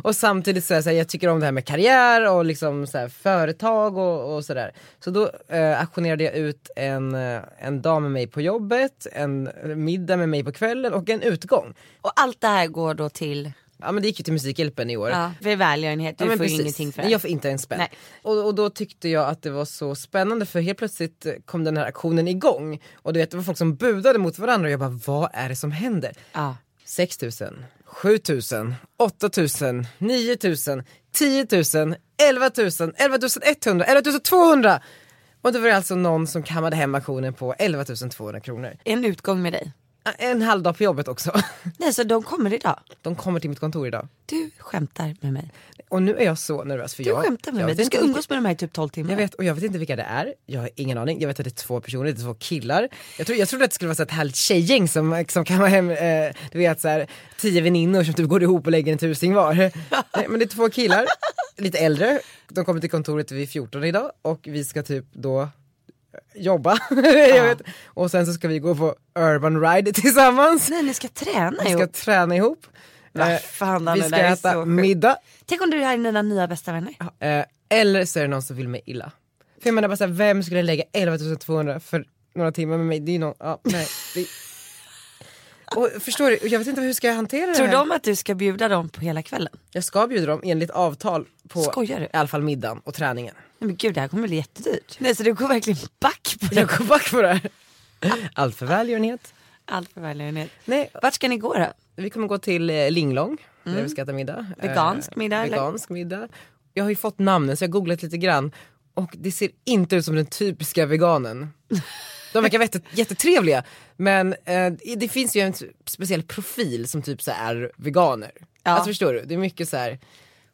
Speaker 1: [LAUGHS] och samtidigt så, här, så här, jag tycker om det här med karriär och liksom så här, företag och, och sådär. Så då eh, auktionerade jag ut en, eh, en dag med mig på jobbet, en middag med mig på kvällen och en utgång.
Speaker 3: Och allt det här går då till
Speaker 1: Ja men det gick ju till Musikhjälpen i år.
Speaker 3: ja. för välgörenhet, du
Speaker 1: Ja, men
Speaker 3: får ju
Speaker 1: precis.
Speaker 3: ingenting för det.
Speaker 1: Nej, Jag får inte en spänn.
Speaker 3: Nej.
Speaker 1: Och, och då tyckte jag att det var så spännande för helt plötsligt eh, kom den här aktionen igång. Och du vet det var folk som budade mot varandra och jag bara vad är det som händer?
Speaker 3: Ja.
Speaker 1: 6 000, 7 000, 8 000, 9 000, 10 000, 11 000, 11 100, 11 200! Och det var det alltså någon som kammade hem auktionen på 11 200 kronor.
Speaker 3: En utgång med dig.
Speaker 1: Ah, En halv dag på jobbet också. [LAUGHS]
Speaker 3: Nej så de kommer idag.
Speaker 1: De kommer till mitt kontor idag.
Speaker 3: Du skämtar med mig.
Speaker 1: Och nu är jag så nervös för
Speaker 3: Du
Speaker 1: jag,
Speaker 3: skämtar med
Speaker 1: jag
Speaker 3: mig.
Speaker 1: vet
Speaker 3: Du
Speaker 1: inte
Speaker 3: ska
Speaker 1: vilka-
Speaker 3: umgås med de här i typ 12 timmar.
Speaker 1: Jag vet, och jag vet inte vilka det är, jag har ingen aning. Jag vet att det är två personer, det är två killar. Jag, tror, jag trodde att det skulle vara så ett härligt tjejgäng som, som kan vara hem, eh, du vet så här, tio väninnor som typ går ihop och lägger en tusing
Speaker 3: [LAUGHS]
Speaker 1: var. Nej, men det är två killar, lite äldre, de kommer till kontoret vid 14 idag och vi ska typ då jobba. [LAUGHS] jag vet. Och sen så ska vi gå på urban ride tillsammans.
Speaker 3: Nej ni ska träna
Speaker 1: Vi ska
Speaker 3: ihop.
Speaker 1: träna ihop.
Speaker 3: Vad
Speaker 1: Eh,
Speaker 3: fan, Danne,
Speaker 1: vi
Speaker 3: det
Speaker 1: ska
Speaker 3: där är så
Speaker 1: äta
Speaker 3: sjukt.
Speaker 1: middag.
Speaker 3: Tänk om du är dina nya bästa vänner.
Speaker 1: Eh, eller så är det någon som vill mig illa. För jag menar bara såhär, vem skulle lägga 11 200 för några timmar med mig? Det är ju någon, ja nej. Det... Och förstår du, jag vet inte hur ska jag hantera
Speaker 3: Tror
Speaker 1: det här.
Speaker 3: de att du ska bjuda dem på hela kvällen?
Speaker 1: Jag ska bjuda dem enligt avtal på
Speaker 3: Skojar du?
Speaker 1: i alla fall middagen och träningen.
Speaker 3: Nej men gud det här kommer bli jättedyrt. Nej så du går verkligen back på det.
Speaker 1: Jag går back på det här. Allt för välgörenhet.
Speaker 3: Allt för välgörenhet.
Speaker 1: Nej,
Speaker 3: Vart ska ni gå då?
Speaker 1: vi kommer gå till eh, Linglong där vi ska äta middag.
Speaker 3: Mm.
Speaker 1: Eh,
Speaker 3: Vegansk middag, eller?
Speaker 1: Vegansk middag. Jag har ju fått namnen så jag har googlat lite grann och det ser inte ut som den typiska veganen. De verkar jätte, [LAUGHS] jättetrevliga men eh, det finns ju en speciell profil som typ så här är veganer.
Speaker 3: Ja.
Speaker 1: Alltså förstår du, det är mycket så här.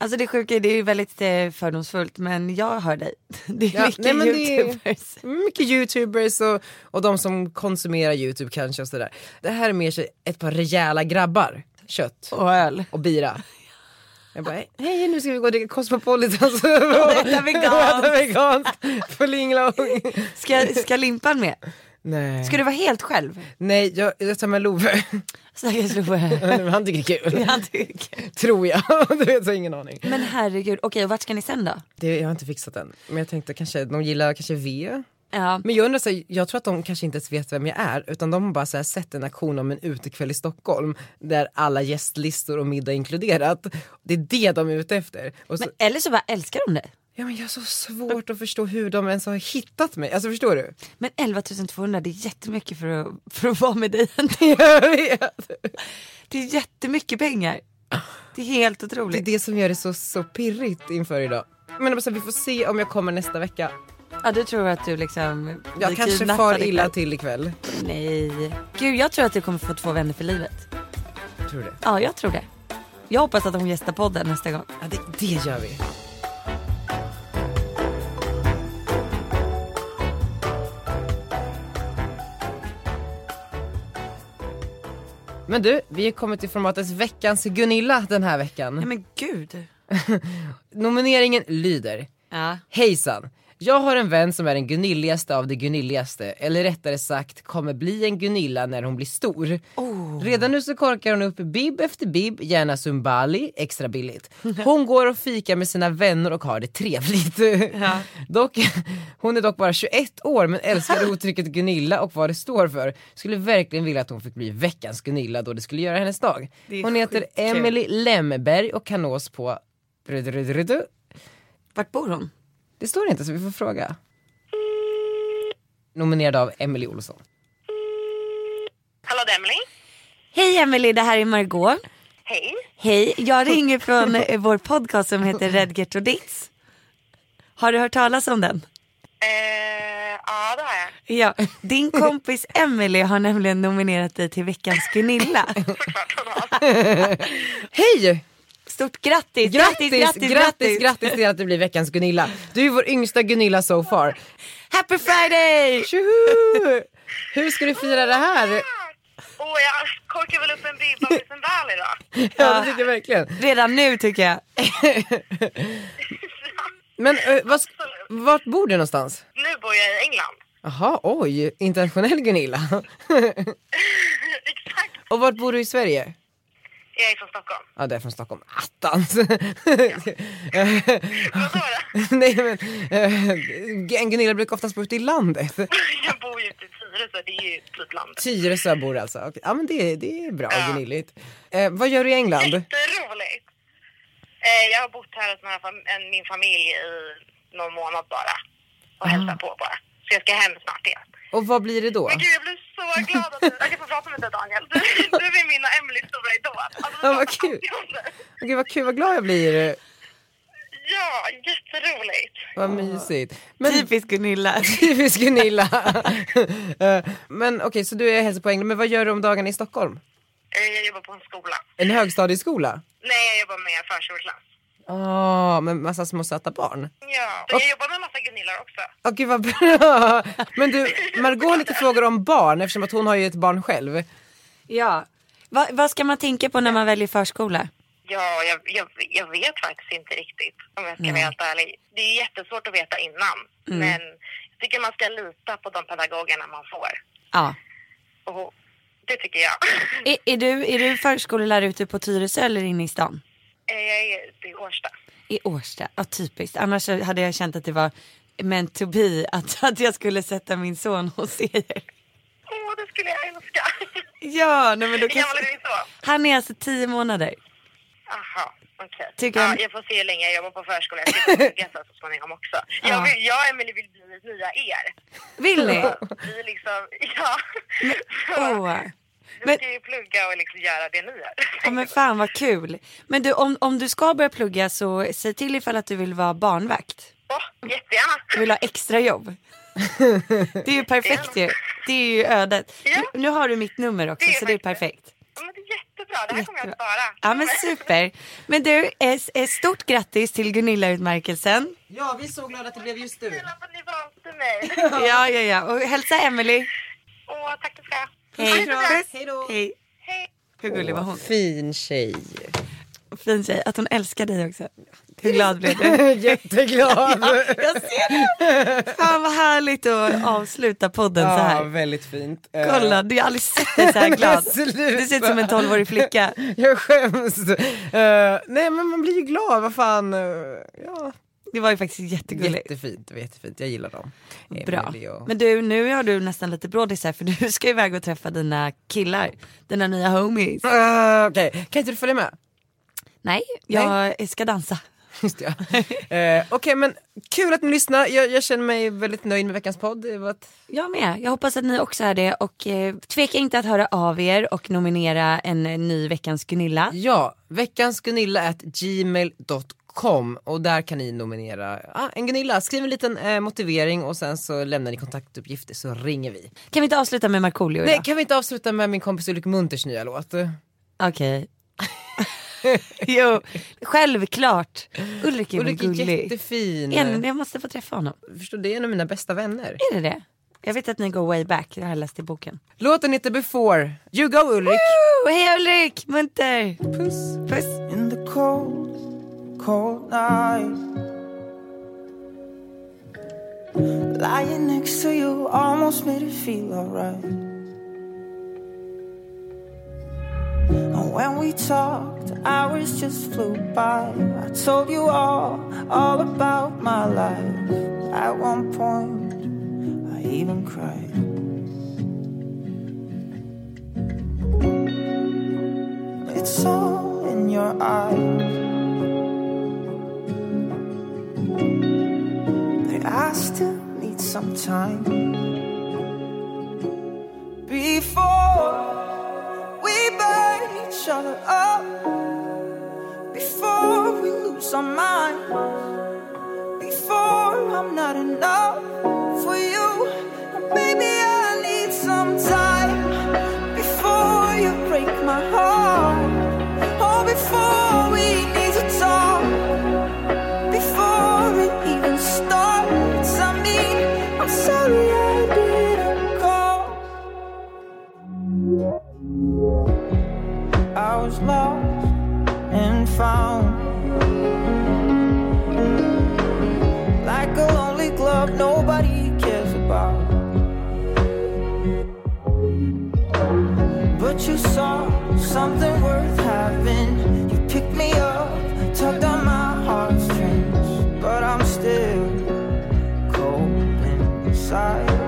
Speaker 3: Alltså det sjuka är, det är ju väldigt eh, fördomsfullt men jag hör dig. [LAUGHS] Det är
Speaker 1: Ja,
Speaker 3: mycket
Speaker 1: nej, men det är-
Speaker 3: youtubers.
Speaker 1: mycket youtubers och, och de som konsumerar youtube kanske och sådär. Det här är mer så ett par rejäla grabbar, kött.
Speaker 3: Och [LAUGHS] öl.
Speaker 1: och bira. [LAUGHS] Jag bara, hej nu ska vi gå och dricka Cosmopolitan [LAUGHS] och
Speaker 3: äta veganskt.
Speaker 1: äta veganskt på Linglong.
Speaker 3: Ska, ska Limpan med?
Speaker 1: Nej,
Speaker 3: Ska du vara helt själv?
Speaker 1: Nej jag, jag tar med Love.
Speaker 3: Stackars [LAUGHS] Love.
Speaker 1: Han tycker det [LAUGHS] är kul,
Speaker 3: Han tycker-
Speaker 1: tror jag. [LAUGHS] du vet, så jag har ingen aning.
Speaker 3: Men herregud, okej och vart ska ni sen då?
Speaker 1: Det, jag har inte fixat än. Men jag tänkte kanske, de gillar kanske V.
Speaker 3: Ja.
Speaker 1: Men jag undrar, så här, jag tror att de kanske inte ens vet vem jag är utan de har bara så här, sett en aktion om en utekväll i Stockholm där alla gästlistor och middag inkluderat. Det är det de är ute efter. Och så,
Speaker 3: Men, eller så bara älskar de dig.
Speaker 1: ja, men jag har så svårt att förstå hur de ens har hittat mig, alltså förstår [LAUGHS] du?
Speaker 3: Men 11 200 det är jättemycket för att, för att vara med dig.
Speaker 1: Jag vet.
Speaker 3: Det är jättemycket pengar. Det är helt
Speaker 1: Det är
Speaker 3: otroligt.
Speaker 1: det som gör det så, så pirrigt inför idag. Men alltså, vi får se om jag kommer nästa vecka.
Speaker 3: Ja, du tror att du liksom
Speaker 1: Jag
Speaker 3: blir
Speaker 1: kanske
Speaker 3: kidnappad
Speaker 1: far
Speaker 3: ikväll.
Speaker 1: illa till ikväll.
Speaker 3: Nej. Gud, jag tror att du kommer få två vänner för livet.
Speaker 1: Tror du det?
Speaker 3: Ja, jag tror det. Jag hoppas att de gästar podden nästa gång.
Speaker 1: Ja, det, det gör vi. Men du, vi har kommit till formatets veckans Gunilla den här
Speaker 3: Nej
Speaker 1: veckan.
Speaker 3: men gud.
Speaker 1: Nomineringen lyder
Speaker 3: Ja.
Speaker 1: Hejsan! Jag har en vän som är den gunilligaste av de gunilligaste, eller rättare sagt kommer bli en Gunilla när hon blir stor.
Speaker 3: Oh.
Speaker 1: Redan nu så korkar hon upp bib efter bib, gärna Zumbali, extra billigt. Hon går och fikar med sina vänner och har det
Speaker 3: [LAUGHS]
Speaker 1: trevligt. Dock, hon är dock bara 21 år men
Speaker 3: [LAUGHS]
Speaker 1: älskar uttrycket Gunilla och vad det står för. Skulle verkligen vilja att hon fick bli veckans Gunilla då det skulle göra hennes dag.
Speaker 3: Det är
Speaker 1: Hon heter
Speaker 3: skitkul.
Speaker 1: Emily Lemberg och kan nås på...
Speaker 3: Vart bor hon?
Speaker 1: Det står inte så vi får fråga. Nominerad av Emily Olsson.
Speaker 8: Hallå, det är Emily.
Speaker 3: Hej Emily, det här är Margot.
Speaker 8: Hej.
Speaker 3: Hej, jag ringer från eh, vår podcast som heter Redgert och Ditz. Har du hört talas om den?
Speaker 8: Eh, ja, det har jag.
Speaker 3: Ja, din kompis Emily har nämligen nominerat dig till veckans Gunilla.
Speaker 8: Såklart hon har.
Speaker 1: Hej!
Speaker 3: Stort grattis!
Speaker 1: Grattis, grattis, grattis, grattis till att du blir veckans Gunilla. Du är vår yngsta Gunilla so far.
Speaker 3: Happy Friday!
Speaker 1: Tjoho! Hur ska du fira det här?
Speaker 8: Åh, jag korkar väl upp en bibba med sin väl idag.
Speaker 1: Ja, det tycker jag verkligen.
Speaker 3: Redan nu tycker jag.
Speaker 1: Men eh, vad, sk- vart bor du någonstans?
Speaker 8: Nu bor jag i England. [LAUGHS]
Speaker 1: Jaha, oj, internationell Gunilla.
Speaker 8: Exakt.
Speaker 1: Och vart bor du i Sverige?
Speaker 8: Jag är från Stockholm.
Speaker 1: Ja, det är från Stockholm. Attans!
Speaker 8: Vad sa du?
Speaker 1: [LAUGHS]
Speaker 8: [LAUGHS]
Speaker 1: Nej men, eh, en Gunilla brukar oftast bo ute i landet.
Speaker 8: Jag bor ju ute i Tyresö, det är ju typ landet.
Speaker 1: Tyresö bor alltså. Okej. Ja men det, det är bra
Speaker 8: Ja.
Speaker 1: Gunilligt. Eh, vad gör du i England?
Speaker 8: Jätteroligt. Eh, jag har bott här hos några fam- en, min familj i någon månad bara. Och
Speaker 1: Ah.
Speaker 8: hälsat på bara. Så jag ska hem snart igen.
Speaker 1: Och vad blir det då?
Speaker 8: Men gud, jag blir så glad att, du, att jag får prata med dig Daniel. Du, du är min och Emilys stora idol. Alltså,
Speaker 1: Ja, vad
Speaker 8: jag pratar
Speaker 1: kul.
Speaker 8: alltid om dig.
Speaker 1: Gud vad kul, vad glad jag blir.
Speaker 8: Ja, jätteroligt.
Speaker 1: Vad mysigt.
Speaker 3: [LAUGHS]
Speaker 1: Men
Speaker 8: Typ-
Speaker 1: [LAUGHS]
Speaker 3: Typiskt Gunilla.
Speaker 1: typiskt Gunilla. [LAUGHS] Eh, men okej, så du är hälsar på England. Men vad gör du om dagarna i Stockholm?
Speaker 8: Eh, Jag jobbar på en skola.
Speaker 1: En högstadieskola?
Speaker 8: Nej, jag jobbar med förskoleklass.
Speaker 1: Ja, med massa små söta barn.
Speaker 8: Ja, så jag jobbar med en massa Gunillar också.
Speaker 1: Åh gud vad bra. [LAUGHS] Men du, Margot har lite frågor om barn eftersom att hon har ju ett barn själv.
Speaker 3: Ja. Va, vad ska man tänka på när man väljer förskola?
Speaker 8: Ja, jag, jag, jag vet faktiskt inte riktigt om jag ska vara helt ärlig. Det är jättesvårt att veta innan, men jag tycker man ska lita på de pedagogerna man får.
Speaker 3: Ja.
Speaker 8: Och det tycker jag. [LAUGHS]
Speaker 3: Är, är, du, är du förskolelärare ute på Tyresö eller inne i stan?
Speaker 8: Eh, jag är i Årsta.
Speaker 3: I Årsta, ja typiskt. Annars så hade jag känt att det var meant to be att, [LAUGHS] att jag skulle sätta min son hos er.
Speaker 8: Åh, det skulle jag [LAUGHS] älska!
Speaker 3: Ja, nej men då
Speaker 8: Hur
Speaker 3: kan...
Speaker 8: gammal är din son?
Speaker 3: Han är alltså tio månader.
Speaker 8: Jaha, okej.
Speaker 3: Tycker
Speaker 8: Ja,
Speaker 3: han-
Speaker 8: jag får se hur länge jag jobbar på förskolan. Jag ska [LAUGHS] plugga så småningom också. Jag, vill, jag och Emelie vill bli nya er.
Speaker 3: Vill ni?
Speaker 8: [LAUGHS] Vi liksom, ja.
Speaker 3: Åh.
Speaker 8: Vi
Speaker 3: Men,
Speaker 8: ska ju plugga och liksom göra det ni gör.
Speaker 3: ja, men fan vad kul. Men du, om, om du ska börja plugga så säg till ifall att du vill vara barnvakt.
Speaker 8: Åh, jättegärna.
Speaker 3: Du vill ha extra jobb. Det är ju perfekt ju. Det är ju ödet.
Speaker 8: Ja.
Speaker 3: Nu, nu har du mitt nummer också
Speaker 8: Det är
Speaker 3: så det är
Speaker 8: faktiskt-
Speaker 3: perfekt.
Speaker 8: Ja, men det är jättebra. Det här kommer jag att
Speaker 3: Jättebra.
Speaker 8: spara.
Speaker 3: Ja men
Speaker 8: [LAUGHS]
Speaker 3: super. Men du, ett- ett stort grattis till Gunilla-utmärkelsen.
Speaker 1: Ja, vi är så glada att det blev just du.
Speaker 8: Snälla för att ni
Speaker 3: [LAUGHS]
Speaker 8: valde mig.
Speaker 3: Ja, ja, ja. Och hälsa Emily.
Speaker 8: Åh, tack du ska ha.
Speaker 3: Hej.
Speaker 1: Hej då.
Speaker 3: Hej.
Speaker 8: Hej.
Speaker 3: Hur gullig var hon?
Speaker 1: Fin tjej. [LAUGHS]
Speaker 3: Fin tjej. Att hon älskar dig också. Hur glad blev
Speaker 8: [LAUGHS]
Speaker 3: du?
Speaker 1: Jätteglad.
Speaker 3: Jag ser det. Fan vad härligt att avsluta podden så
Speaker 1: Ja,
Speaker 3: här.
Speaker 1: väldigt fint. Eh,
Speaker 3: Kolla, du har aldrig sett dig
Speaker 8: [LAUGHS]
Speaker 3: så här
Speaker 1: Men
Speaker 3: glad.
Speaker 1: sluta.
Speaker 3: Du ser ut som en 12-årig flicka.
Speaker 1: [LAUGHS] Jag skäms. Eh, nej men man blir ju glad, vad fan. eh, ja.
Speaker 3: Det var ju faktiskt jättegulligt.
Speaker 1: Jättefint, jättefint. Jag gillar dem.
Speaker 3: Bra.
Speaker 1: Emily och-
Speaker 3: Men du, nu har du nästan lite brådisar för du ska iväg och träffa dina killar. Dina nya homies.
Speaker 1: Eh, Okej, kan inte du följa med? [LAUGHS]
Speaker 3: Nej, jag ska dansa.
Speaker 1: Just det, ja. [LAUGHS] Eh, Okej men kul att ni lyssnar. Jag, jag känner mig väldigt nöjd med veckans podd. Det var ett-
Speaker 3: Jag med. Jag hoppas att ni också är det och eh, tveka inte att höra av er och nominera en eh, ny veckans Gunilla.
Speaker 1: Ja, veckans Gunilla at gmail.com gmail.com och där kan ni nominera ah, en Gunilla. Skriv en liten eh, motivering och sen så lämnar ni kontaktuppgifter så ringer vi.
Speaker 3: Kan vi inte avsluta med Markoolio
Speaker 1: Nej,
Speaker 3: idag?
Speaker 1: kan vi inte avsluta med min kompis Ulrik Munters nya låt?
Speaker 3: Okej. [LAUGHS] jo, självklart. Ulrik är väl
Speaker 1: Ulrik är
Speaker 3: gullig.
Speaker 1: jättefin.
Speaker 3: En, jag måste få träffa honom.
Speaker 1: Förstår, det är en av mina bästa vänner.
Speaker 3: Är det det? Jag vet att ni går way back, det har jag läst i boken.
Speaker 1: Låten heter Before. You go Ulrik.
Speaker 3: Oh, hej Ulrik, munter. Puss. Puss.
Speaker 9: in the cold, cold night. Lying next to you almost made it feel alright. And when we talked, hours just flew by. I told you all, all about my life. At one point, I even cried. It's all in your eyes. But I still need some time before we burn each other up, before we lose our minds, before I'm not enough for you. And Maybe I need some time before you break my heart. Oh, before we need to talk, before it even starts. I mean, I'm sorry I didn't call. I was lost and found. Like a lonely glove, nobody cares about. But you saw something worth having. You picked me up, tugged on my heartstrings. But I'm still cold inside.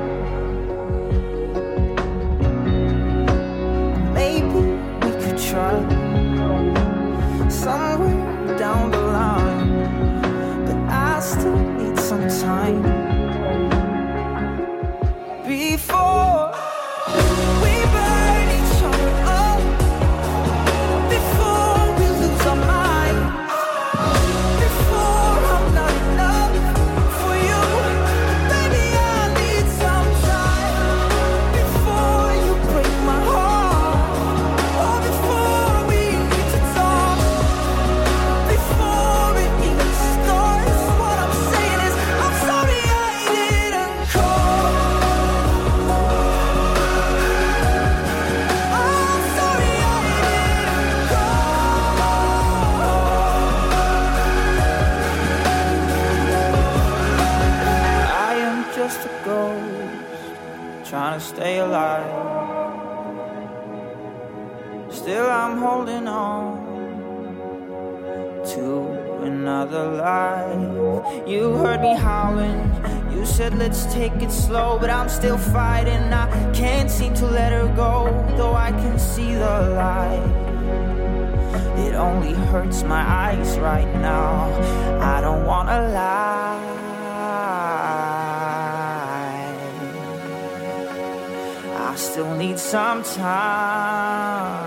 Speaker 9: Maybe we could try somewhere down the line. But I still need some time before. We burn each other up before we lose our mind. Before I'm not enough for you, baby, I need some time before you break my heart, or before we need to talk, before it even starts. What I'm saying is, I'm sorry I didn't call. I'm sorry I didn't call. I am just a ghost trying to stay alive. Still, I'm holding on to another life. You heard me howling. You said, let's take it slow, but I'm still fighting. I can't seem to let her go, though I can see the light. It only hurts my eyes right now. I don't wanna lie. I still need some time